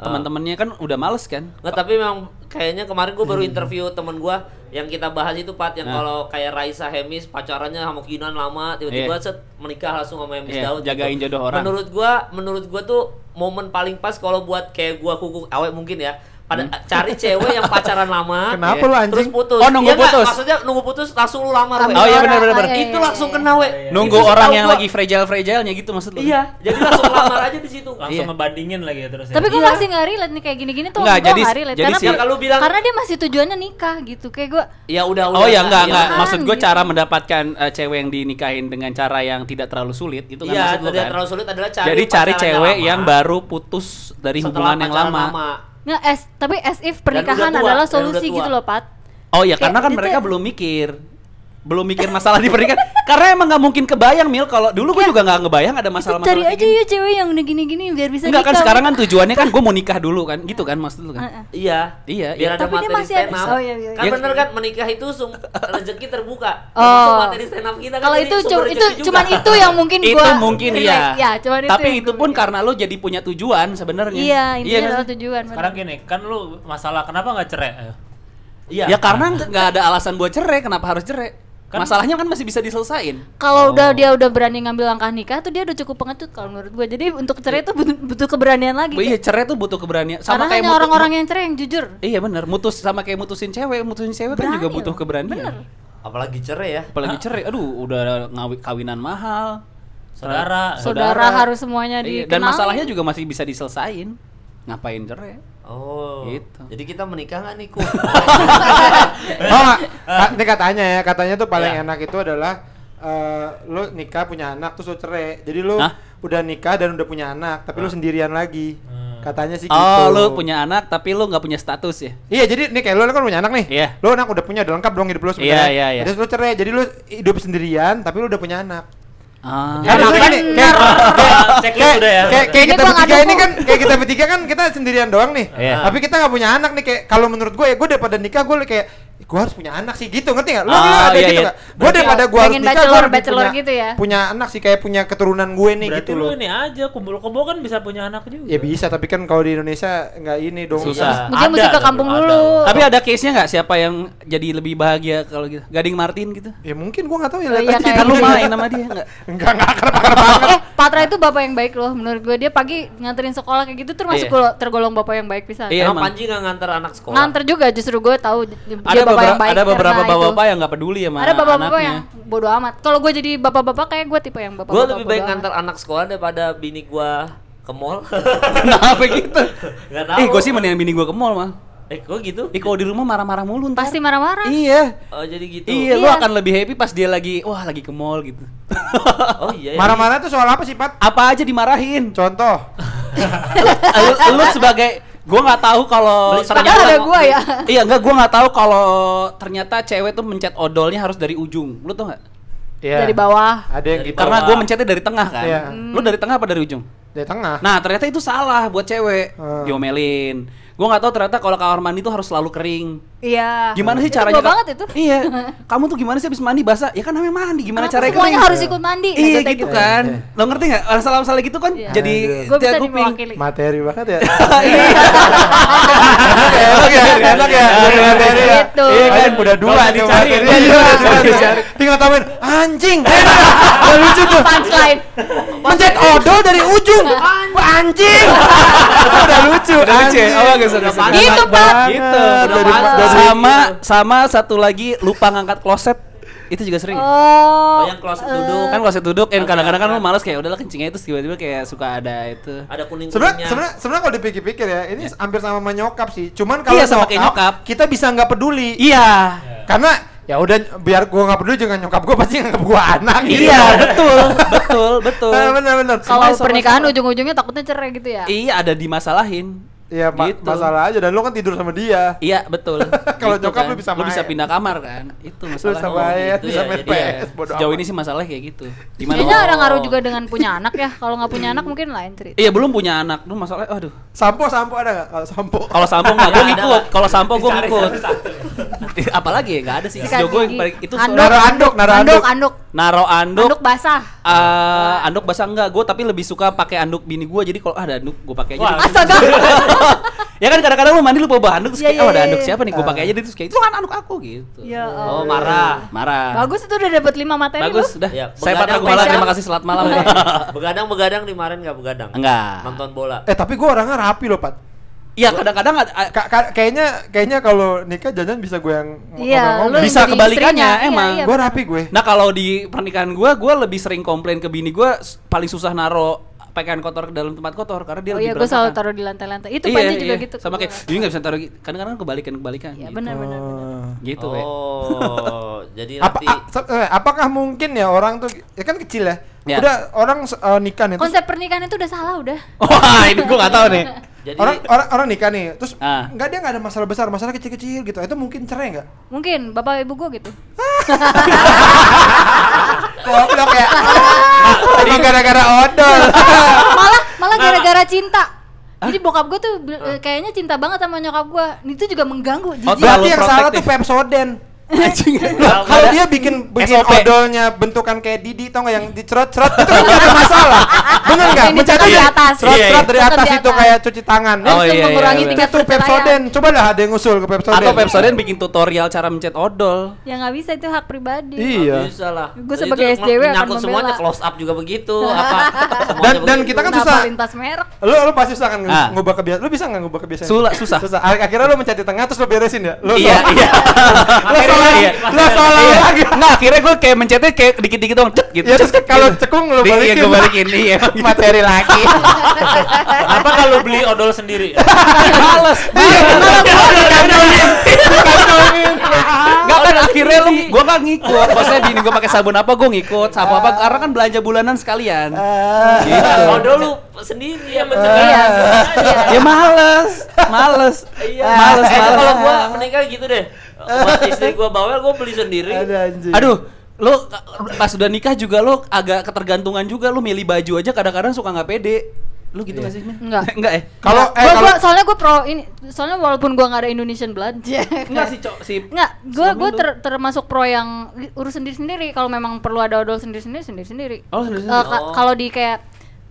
teman-temannya kan udah males kan?
Nggak, tapi memang kayaknya kemarin gue baru interview temen gue yang kita bahas itu
Nah.
Pat yang kalau kayak Raisa Hemis pacarannya sama Kinan lama
Iya.
tiba-tiba set menikah langsung sama Hemis
Iya,
Daud gitu.
jagain jodoh orang.
Menurut gue, menurut gue tuh momen paling pas kalau buat kayak gue kuku awet mungkin ya. Pada cari cewek yang pacaran lama.
Kenapa
iya,
lu anjing?
Terus putus.
Hmm. Oh, nunggu
Iya nggak?
putus.
Maksudnya nunggu putus langsung lu lamar. weh.
Lamar
Oh iya
orang.
benar-benar.
Ah, iya,
Itu
iya,
langsung
iya.
kena we.
Nunggu orang yang lagi fragile-fragilenya gitu maksud lo?
Iya, jadi langsung lamar aja di situ.
Langsung
Iya.
ngebandingin lagi ya terus ya.
Tapi gue masih nggak relate nih kayak gini-gini tuh
Nggak,
gua
jadi-
nggak relate
jadi
karena
sih-
dia-
Ya, kalau bilang-
karena dia masih tujuannya nikah gitu kayak gue
Ya udah udah.
Oh ya enggak
iya.
enggak maksud gue
gitu.
cara mendapatkan eh, cewek yang dinikahin dengan cara yang tidak terlalu sulit itu kan
Iya,
maksud lo
tidak
kan?
terlalu sulit adalah cari
Jadi cari
pacarannya
cewek
lama.
yang baru putus dari
Setelah
hubungan yang
pacaran
lama.
nggak as tapi as if pernikahan
udah tua,
adalah
dan
solusi
udah tua.
gitu loh Pat.
Oh ya
Kayak
karena kan
gitu
mereka
ya.
belum mikir belum mikir masalah di pernikahan karena emang nggak mungkin kebayang mil kalau dulu gue juga nggak ngebayang ada
Iya. Itu
masalah-masalah
cari
kayak
aja
gini.
ya cewek yang udah gini-gini biar bisa
enggak kan
nikah.
sekarang kan tujuannya kan gue mau nikah dulu kan gitu kan maksud lu
Heeh.
kan
Iya.
Iya,
Biar
iya.
ada
Tapi dia
materi
masih
stand
ada-
up.
oh, iya, iya,
Kan
iya.
bener kan menikah itu sum- rezeki terbuka.
Oh.
Termasuk materi stand up kita kan
Kalau
jadi
itu
sumber
cu- itu
rezeki juga.
cuman itu yang mungkin
itu
gua
mungkin
relate.
iya
Ya, cuman itu. yang
tapi itu
gua
pun
relate.
karena lo jadi punya tujuan sebenarnya
Iya, intinya
kan?
adalah tujuan. bener.
Sekarang gini, kan lu masalah kenapa nggak cerai? Eh. Ayo.
Iya.
Ya karena nggak nggak ada alasan buat cerai, kenapa harus cerai? Masalahnya kan masih bisa diselesain.
Kalau udah dia udah berani ngambil langkah nikah tuh dia udah cukup pengecut kalau menurut gue. Jadi untuk cerai tuh butuh, butuh keberanian lagi.
Iya, cerai tuh butuh keberanian.
Gitu.
Sama
karena
kayak
hanya
mutu-
orang-orang yang cerai yang jujur.
Iya benar, mutus sama kayak mutusin cewek, mutusin cewek kan juga
Berani
butuh
loh,
keberanian.
bener.
Apalagi cerai ya.
Apalagi cerai, aduh udah ngawi kawinan mahal.
Saudara.
Saudara.
Saudara harus semuanya
Iya,
di
dan masalahnya juga masih bisa diselesain. Ngapain cerai?
Oh.
Gitu.
Jadi kita menikah nggak nih, Ku?
Oh, nggak?
Ah.
Ka- ini katanya ya, katanya tuh paling
Iya.
enak itu adalah eh, lu nikah punya anak terus lu cerai. Jadi lu
Hah? Ah.
udah nikah dan udah punya anak, tapi lu sendirian lagi. Katanya sih gitu.
Hmm. Oh, lu punya anak tapi lu nggak punya status ya?
Iya, jadi nih kayak lu, lu kan punya anak nih.
Iya.
Lu anak udah punya, udah lengkap dong hidup lu
Iya,
sebenarnya.
iya, iya.
Terus lu cerai, jadi lu hidup sendirian tapi lu udah punya anak.
Nah,
Ah.
Kan harusnya gini, kayak,
Cek lu
kayak,
udah ya.
kayak, kayak
Ini
kita
gua
bertiga
ngadu
ini
kok.
kan kayak kita bertiga kan kita sendirian doang nih.
Iya.
Tapi kita nggak punya anak nih kayak kalau menurut gue ya gue daripada nikah gue kayak gue harus punya anak sih gitu ngerti nggak? Lo
Ah,
lo ada
iya,
gitu
iya.
nggak? Gue daripada gue harus
pengen
nikah
bachelor-
gue lebih
bachelor
punya,
gitu ya?
punya anak sih kayak punya keturunan gue nih
Berarti
gitu
lu
loh.
ini aja kumpul-kumpul kan bisa punya anak juga.
Ya bisa tapi kan kalau di Indonesia nggak ini dong.
Susah.
Dia mesti
Ada
ke
loh,
kampung
ada
dulu.
loh.
Tapi gitu, ada case-nya nggak siapa yang jadi lebih bahagia kalau gitu? Gading Martin gitu?
Ya mungkin gue nggak tahu ya.
Oh,
lihat
iya,
aja.
kayak-
Kan lu main sama dia nggak?
Enggak enggak akrab
eh, Patra itu bapak yang baik loh menurut gue. Dia pagi nganterin sekolah kayak gitu termasuk
Iya.
golo- tergolong bapak yang baik bisa.
Iya,
Emang
emang.
Panji nggak nganter anak sekolah.
Nganter juga justru gue tahu j- dia
ada
bapak
beberapa
yang baik
ada beberapa
karena
bapak-bapak
itu.
yang nggak peduli sama
ada bapak-bapak
anaknya.
yang bodo amat. Kalau gue jadi bapak-bapak kayak gue tipe yang bapak-bapak.
Gue lebih baik
bodo amat.
nganter anak sekolah daripada bini gue ke mall.
kenapa gitu
Nggak
eh
tahu.
gue sih mendingan bini gue ke mall mah
Eh kok gitu?
Ih kalau di rumah marah-marah mulu ntar.
Pasti marah-marah.
Iya.
Oh jadi gitu.
Iya, lu
Iya.
akan lebih happy pas dia lagi wah lagi ke mall gitu.
Oh iya. iya.
Marah-marah itu soal apa sih, Pat?
Apa aja dimarahin.
Contoh.
lu, lu sebagai gua nggak tahu kalau
Beli sepeda
ternyata
ada gua ya.
Iya, enggak gua nggak tahu kalau ternyata cewek tuh mencet odolnya harus dari ujung. Lu tau nggak?
Iya.
Dari bawah.
Ada yang
Dari
gitu.
Karena
Bawah.
gua mencetnya dari tengah kan.
Iya.
Lu dari tengah apa dari ujung?
Dari tengah.
Nah, ternyata itu salah buat cewek.
Hmm.
Diomelin. Gua nggak tahu ternyata kalau kamar mandi tuh harus selalu kering.
Iya.
Gimana sih
Itu
caranya?
gua
Kak?
banget itu.
Iya. Kamu tuh gimana sih habis mandi basah? Ya kan namanya mandi, gimana
Kenapa
caranya
semuanya
kering?
harus ikut mandi?
Iya
Nah,
gitu
gitu.
kan.
Iya,
Lo ngerti nggak? Orang salah-salah gitu kan
Iya.
jadi
Aduh.
Gue bisa
tiap kuping.
diwakili.
Materi banget ya.
Iya.
Enak ya, enak ya, enak ya. Jadi materi ya.
Gitu.
Iya kan udah dua
Gak usah
tuh
dicari,
materinya.
gak
Iya,
usah
udah dua.
dicari.
Tinggal tambahin anjing. Udah lucu tuh.
Punchline.
Pencet odol dari ujung. Wah, Anjing. Udah lucu.
Udah lucu ya? Oh, bagus, bagus, bagus.
Gitu, Pak.
Gitu.
Udah
Dari
panas.
dari
sama sama satu lagi lupa ngangkat kloset. Itu juga sering.
Oh.
Banyak kloset duduk.
Kan kloset duduk dan kadang-kadang kan lu males kayak udahlah kencingnya itu tiba-tiba kayak suka ada itu.
Ada kuning
Sebenarnya sebenarnya sebenarnya kalau dipikir-pikir ya, ini hampir sama sama nyokap sih. Cuman kalau
Iya, sama kayak nyokap.
kita bisa nggak peduli.
Iya.
Karena ya udah biar gua nggak peduli jangan nyokap gua pasti nganggap gua anak. gitu.
Iya, betul, betul, betul.
Benar benar benar.
Kalau
Sama-sama.
pernikahan ujung-ujungnya takutnya cerai gitu ya.
Iya, ada dimasalahin.
Iya, ma-
Gitu.
masalah aja dan lu kan tidur sama dia.
Iya, betul.
Kalau nyokap lu bisa
lu bisa
main.
pindah kamar kan. Itu
Terus
masalahnya.
sama ya,
gitu
terus
ya,
sama
jadi ya.
PS bodo
Sejauh
amat.
Iya. ini sih masalahnya kayak gitu. Gimana?
Kayaknya
mau-
ada ngaruh juga dengan punya anak ya. Kalau nggak punya anak mungkin lain cerita.
Iya, belum punya anak. Lu masalahnya aduh.
sampo sampo ada nggak? Kalau sampo.
Kalau sampo nggak gue
Ya, ada
ngikut.
lah.
Kalau sampo gue
Dicari
ngikut.
satu-satu.
Apalagi ya nggak ada sih.
Sikat
Sejauh gue yang
gigi.
paling itu
Anduk,
soalnya-
Naruh anduk, naruh
Anduk,
anduk.
anduk.
naro anduk.
Anduk basah.
eh, anduk basah enggak, gue tapi lebih suka pakai anduk bini gue jadi kalau ah, ada anduk gue pakai aja
Wah,
deh.
Astaga.
ya kan kadang-kadang lu mandi lu bawa anduk terus
Iya,
kayak
iya,
oh ada
iya,
anduk
iya.
siapa nih gue pakai aja deh terus kayak itu kan anduk aku gitu
Ya
Oh
Allah.
marah.
marah
Bagus itu udah dapat 5 materi
bagus
lu. Iya.
udah
Ya,
saya
begadang
Patra Gumala
spesial.
terima kasih selamat malam
Begadang-begadang kemarin nggak begadang?
enggak
Nonton bola.
Eh tapi gua orangnya rapi loh, Pat.
iya kadang-kadang ada- a-
Ka- ka- kayaknya kayaknya kalau nikah jajan bisa gue yang
Iya, lu
ngomong-ngomong.
yang
Bisa
jadi
kebalikannya,
istrinya. Iya,
emang.
iya,
Gue
benar.
rapi gue.
nah kalau di pernikahan gue gue lebih sering komplain ke bini gue paling susah naro pakaian kotor ke dalam tempat kotor karena dia
Oh
lebih
iya, gue selalu
berantakan.
taruh di lantai-lantai. Itu
Iya,
panji juga
iya.
gitu.
sama kayak ini nggak bisa taruh gitu. kadang-kadang kebalikan kebalikan
Iya, benar benar. benar.
gitu ya
Oh, jadi
Apa,
nanti
Ah,
a- se- eh, apakah mungkin ya orang tuh ya kan kecil ya.
Ya.
Udah orang se- eh, nikah nih. terus
Konsep pernikahan itu udah salah udah.
wah ini gue nggak tahu nih
jadi
orang, orang orang nikah nih. Terus
Ah.
nggak dia nggak ada masalah besar, masalah kecil-kecil gitu. Itu mungkin cerai nggak?
Mungkin bapak ibu gue gitu.
Goblok ya. Emang gara-gara odol.
malah malah gara-gara cinta. Jadi bokap gue tuh bil- eh, kayaknya cinta banget sama nyokap gue. Itu juga mengganggu.
Oh,
Jijik.
Terlalu
Berarti yang salah
protektif.
tuh Pepsoden.
anjing
Loh, kalau dia bikin bikin
SOP.
odolnya bentukan kayak Didi tau nggak yang dicerot-cerot itu kan nggak ada masalah. Bener nggak?
Ini
Mencet
dari
aja.
atas.
Cerot-cerot dari
Iya, iya.
atas
Tetep di
itu
atas.
kayak cuci tangan.
Oh,
Langsung
iya, iya,
mengurangi
bener.
Itu
tingkat
tuh
perceraian.
Pepsoden. Coba lah ada yang ngusul ke Pepsoden.
atau Pepsoden bikin tutorial cara mencet odol
Ya nggak bisa itu hak pribadi.
Iya.
bisa lah.
Gua sebagai
Itu
SJW akan
menyangkut semuanya
membela.
close up juga begitu apa semuanya
Dan dan
begitu.
kita kan
Kenapa
susah.
lintas merek.
Lu lu pasti susah kan nge-
Ah.
ngubah kebiasaan. Lu bisa nggak ngubah kebiasaan?
Sula- susah.
Susah. Ak- Akhirnya lu mencet di tengah terus lu beresin ya. Lu
iya
salah-
iya
Lu salah.
Iya.
Lu salah
Iya.
lagi.
Nah, akhirnya gue kayak mencetnya kayak dikit-dikit doang, cet gitu.
Ya terus
cet,
kalau
gitu.
cekung lu
Iya,
balikin. Gitu.
gua balikin, iya.
Materi lagi.
Apa kalau beli odol sendiri?
Males.
Iya,
Gak kan akhirnya lu gua kan ngikut. Maksudnya bini gua pakai sabun apa gua ngikut, sabun apa karena kan belanja bulanan sekalian. gitu.
Iya, Odol lu sendiri yang
Ah.
mencegah.
Iya.
Ya males, males. Males,
Eh,
males.
Kalau gua menikah gitu deh. Buat istri gua bawel gua beli sendiri.
Ada anjing.
Aduh, lu pas udah nikah juga lu agak ketergantungan juga lu milih baju aja kadang-kadang suka nggak pede. Lu
Iya.
gitu nggak sih? Min?
Nggak.
Nggak eh.
Kalau eh
Gua-
kalau
gua- soalnya gue pro ini soalnya walaupun gue nggak ada Indonesian blood
Iya, Enggak sih, Cok, sih.
Nggak, gue
Suami
gue
lu.
ter- termasuk pro yang di- urus sendiri sendiri. Kalau memang perlu ada odol sendiri sendiri sendiri sendiri.
Oh, sendiri-sendiri.
Oh.
Kalau di kayak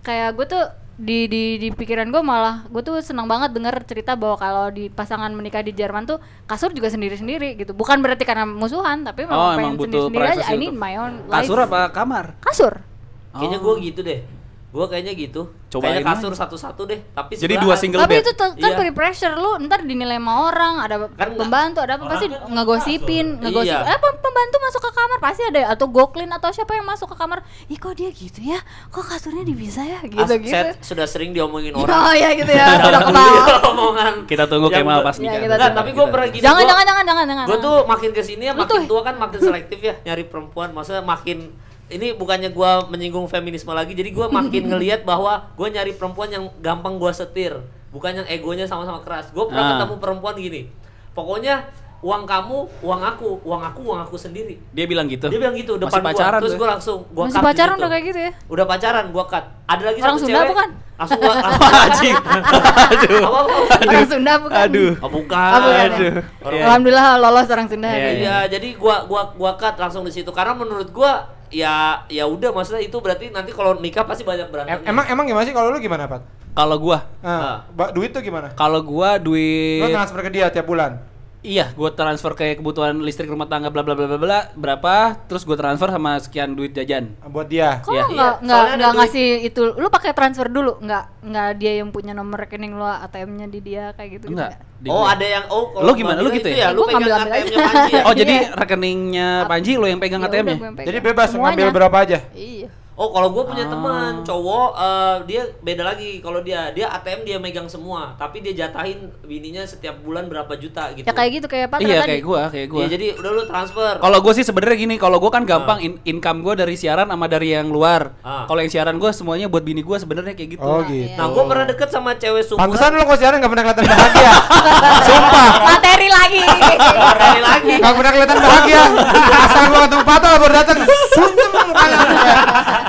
kayak gue tuh di di di pikiran gue malah gue tuh senang banget denger cerita bahwa kalau di pasangan menikah di Jerman tuh kasur juga sendiri sendiri gitu. Bukan berarti karena musuhan, tapi
Oh,
memang pengen
emang
sendiri
butuh
sendiri aja.
privacy
I need
untuk-
my own life.
Kasur apa kamar?
Kasur.
Kayaknya gua
Oh.
gitu deh. Gua kayaknya gitu.
Cobain
kayaknya kasur
aja.
satu-satu deh, tapi
Jadi
sebelahan.
dua single
tapi
bed.
itu tuh kan
Iya.
peer pressure lu ntar dinilai sama orang ada
Kan
pembantu ada apa
orang
pasti
kan
ngegosipin
kasur.
ngegosip
Iya.
eh pem- pembantu masuk ke kamar pasti ada atau goklin atau siapa yang masuk ke kamar ih kok dia gitu ya kok kasurnya dipisah ya gitu
As-
gitu
Saya sudah sering diomongin orang. Iya.
oh ya gitu ya udah
Dalam
kebal
dunia omongan. jangan.
Kita tunggu
Yang
Kemal kan.
gua-
pas
Ya,
nikah.
kita
Enggak,
tunggu.
tapi gue pernah gini.
jangan,
gua-
jangan, jangan, jangan, jangan.
gue tuh makin kesini ya
Nah, Lu
makin
tuh-
tua kan makin selektif ya nyari perempuan maksudnya makin ini bukannya gue menyinggung feminisme lagi jadi gue makin ngelihat bahwa gue nyari perempuan yang gampang gue setir bukan yang egonya sama-sama keras gue
Ah.
pernah ketemu perempuan gini pokoknya uang kamu uang aku uang aku uang aku sendiri
Dia bilang gitu.
dia bilang gitu
Masih
depan gua.
pacaran
terus
tuh.
gue langsung gue
ya? Masih pacaran udah kayak gitu ya?
udah pacaran gue cut ada lagi
Orang
satu
Sunda kan?
cewek
bukan?
langsung gue
Anjing. Aduh.
apa apa
Orang Sunda bukan?
Aduh.
oh, bukan,
Oh, bukan ya?
Orang-
Iya.
Alhamdulillah lolos orang Sunda.
Iya,
hari ini.
Iya, jadi gua gua gua cut langsung di situ karena menurut gua ya ya udah maksudnya itu berarti nanti kalau nikah pasti banyak berantem.
Em- emang emang gimana sih kalau lu gimana Pat?
Kalau gua,
Ah.
Ah, ba- duit tuh gimana?
kalau gua duit
Lu transfer ke dia tiap bulan.
Iya, gue transfer kayak kebutuhan listrik rumah tangga bla bla bla bla bla berapa, terus gue transfer sama sekian duit jajan.
Buat dia.
Kok
Iya.
lo nggak
Iya,
nggak
soalnya ada
nggak
duit.
ngasih itu? Lu pakai transfer dulu, nggak nggak dia yang punya nomor rekening lu ATM-nya di dia kayak gitu?
Enggak. di
oh,
gua.
ada yang oh kalau
Iya. Lo gimana? Lo
Mbak
gitu
itu
ya?
ya, lu
Gua
pegang
ngambil-ambil
ATM-nya
aja.
Panji ya.
Oh, jadi
Iya.
rekeningnya Panji lo yang pegang
ya
ya? ATM-nya.
Jadi bebas ngambil berapa aja.
Iya.
Oh, kalau gua punya
Ah.
teman cowok eh, dia beda lagi kalau dia dia ATM dia megang semua, tapi dia jatahin bininya setiap bulan berapa juta gitu.
Ya kayak gitu kayak apa?
Iya, kayak gua, kayak gua.
Iya, jadi udah lu transfer.
Kalau gue sih sebenarnya gini, kalau gue kan gampang in- income gue dari siaran sama dari yang luar.
Ah.
Kalau yang siaran gue semuanya buat bini gue sebenarnya kayak gitu.
Oh gitu.
nah, gua pernah deket sama cewek
Pantesan
sumuran.
lu kok siaran gak pernah kelihatan bahagia.
Materi lagi.
Dua kali lagi.
Gak pernah kelihatan bahagia. Asal gua ketemu Pato baru datang. Sunyem mukanya.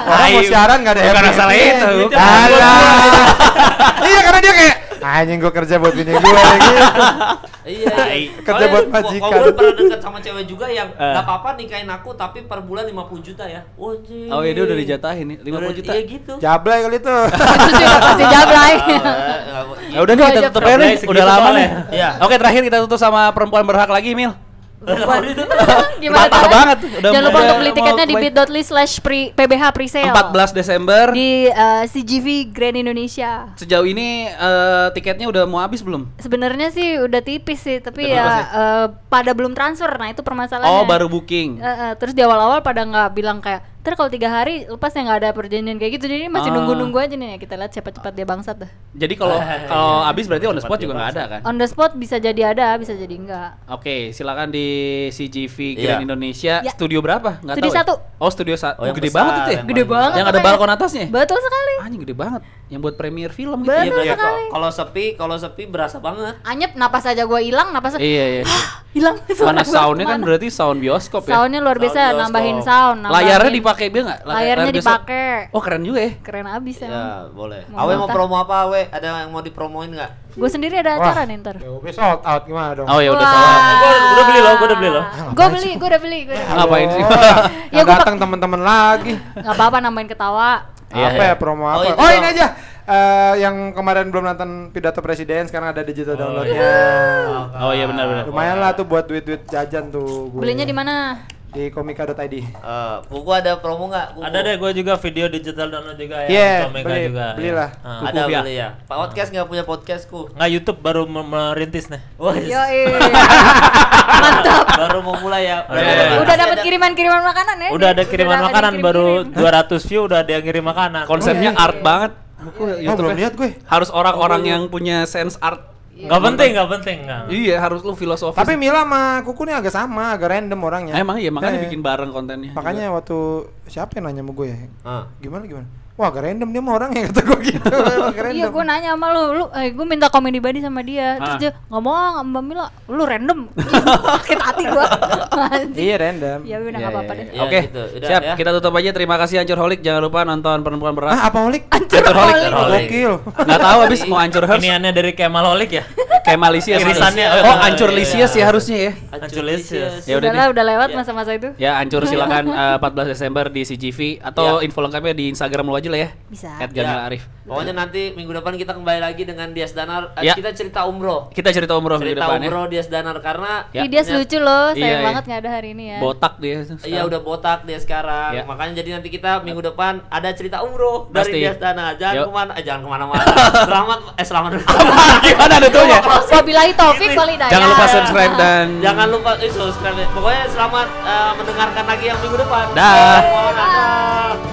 Orang mau
Ayo.
siaran gak ada
Bukan
happy.
masalah itu.
Gitu.
gitu.
Alah. Iya karena dia kayak anjing gua kerja buat bini gua gitu. lagi.
Iya, iya.
Kerja
Soalnya
buat
gua-
majikan.
gua dulu pernah deket sama cewek juga yang
Eh.
nggak apa-apa nikahin aku tapi per bulan 50 juta ya. Oh, anjing.
Oh iya dia udah dijatahin nih, 50
Udah-
juta.
Iya gitu. Ah, iya,
Jablay kali itu.
Itu sih udah pasti jablay.
Iya. Ya udah nih
Gua
kita
aja
tutup aja nih,
segitu
udah lama
soalnya.
nih.
Iya.
Oke, terakhir kita tutup sama perempuan berhak lagi, Mil.
Gimana
Batal
caranya?
banget. Udah
Jangan lupa
mau-
untuk beli
mau
tiketnya di
kebaik-
bit.ly slash pre- PBH presale.
14 Desember.
di eh, CGV Grand Indonesia.
Sejauh ini eh, tiketnya udah mau habis belum?
Sebenarnya sih udah tipis sih, tapi
Udah
ya
berapa sih?
eh, pada belum transfer. Nah, itu permasalahannya.
Oh, baru booking.
Eh, eh, terus di awal-awal pada nggak bilang kayak ntar kalau tiga hari lepas ya nggak ada perjanjian kayak gitu jadi ini
Ah.
masih nunggu-nunggu aja nih ya kita lihat siapa cepat dia bangsat dah
Jadi kalau
Eh, iya.
kalau habis berarti on the spot juga nggak ada kan?
on the spot bisa jadi ada bisa jadi enggak
Oke, silakan di CGV
Iya.
Grand Indonesia.
Ya.
Studio berapa? Nggak
Studio
tahu. ya?
satu.
Oh, studio satu.
Oh, yang
gede
besar,
banget itu ya?
yang
gede
paling-
banget
Yang ada
pokoknya.
balkon atasnya.
betul sekali
Anjing gede banget. Yang buat premiere film gitu.
Betul
Iya, bener kok.
sekali.
Kalau sepi, kalau sepi berasa banget.
anyep napas aja gua hilang napas
Iya, iya.
hilang suara
Mana
gua
soundnya kan
kemana.
berarti sound bioskop ya.
soundnya luar biasa
Sound bioskop.
nambahin sound nambahin.
Layarnya dipakai dia nggak? Layar-
Oh, layarnya
layar bioskop?
dipakai
Oh, keren juga ya.
keren abis ya
Ya, boleh.
Mau
Awe mau
nonton.
promo apa, Awe? Ada yang mau dipromoin nggak?
gue sendiri ada acara nih ntar
Yo, sold out gimana dong?
Oh ya udah
Wah.
sound.
Gua- gua udah beli loh, gua udah beli loh.
Ah, gua beli gue udah beli gue
Ngapain sih? Iya,
Ya,
Ya
gua
datang teman-teman lagi.
nggak apa-apa nambahin ketawa
Iya,
apa
iya.
ya promo
Oh,
apa?
itu
Oh, ini
dong.
aja. Eh, yang kemarin belum nonton pidato presiden sekarang ada digital
iya.
downloadnya.
Oh iya benar-benar.
Lumayan lah tuh buat duit-duit jajan tuh gue.
belinya di mana
Di komika.id.
Eh, buku ada promo nggak? Buku.
Ada deh gue juga video digital download juga ya.
Iya,
untuk Omega
beli-
juga.
belilah.
Ah.
Ada
Buku, ya?
boleh ya. Pak podcast nggak punya podcastku.
Nggak YouTube baru me- merintis nih.
Wah,
Yoi.
mantap. Baru mau mulai ya.
Iya, iya,
udah
iya.
Pasti
dapat
ada-
kiriman-kiriman makanan ya?
Udah ada kiriman
Udah ada
makanan baru
kirim-kirim.
200 view udah ada yang ngirim makanan.
Konsepnya
Iya.
art banget.
Oh, belum lihat gue.
Harus orang-orang yang punya sense art.
Iya.
Iya. Nggak penting, nggak penting, nggak.
Iya, harus lu filosofis.
Tapi Mila sama Kuku nih agak sama, agak random orangnya.
emang iya makanya
Eh,
bikin bareng kontennya.
Iya,
Makanya waktu siapa yang nanya sama gue ya?
Ah.
Gimana gimana? Wah, agak random dia mah orangnya kata gue gitu. agak random.
Iya, gue nanya sama lu, lu, eh, gue minta komedi body sama dia, terus
Ah.
dia ngomong ah, sama Mbak Mila, lu random, sakit hati gue.
Iya, random.
ya udah
Iya,
nggak apa-apa
iya,
deh.
iya.
Ya,
Oke,
gitu. Udah,
siap.
ya.
Kita tutup aja. Terima kasih Ancur Holik. Jangan lupa nonton perempuan berat.
Ah, apa holik?
Anchorholic.
Anchorholic.
Gokil.
Nggak tahu abis mau ancur harus
Iniannya dari Kemal Holik ya.
kayak Malaysia.
Irisannya.
Oh, ancur Lisias ya harusnya ya.
Anculisius.
Ya udah
Udah lah,
deh.
udah lewat masa-masa itu.
Ya, ancur silakan eh, 14 Desember di CGV atau info lengkapnya di Instagram lu aja lah ya.
Bisa.
At
Ya.
Jamil Arif.
Pokoknya nanti minggu depan kita kembali lagi dengan Dias Danar. Eh,
Ya.
Kita cerita umroh.
Kita cerita umroh minggu
cerita
depan ya.
umroh Dias Danar karena
Ya.
Ih, dia lucu loh, sayang
Iya, iya.
banget nggak ada hari ini ya.
Botak dia.
Iya udah botak dia sekarang,
Ya.
makanya jadi nanti kita minggu depan ada cerita umroh
Pasti.
dari Dias Danar. Jangan
Yuk.
kemana, eh, jangan kemana-mana. selamat, eh selamat.
Gimana
ya?
nutupnya?
Wabillahi taufik wal hidayah.
Jangan lupa subscribe dan
jangan lupa eh, subscribe. Pokoknya selamat eh, mendengarkan lagi yang minggu depan.
Dah.
Mohon maaf.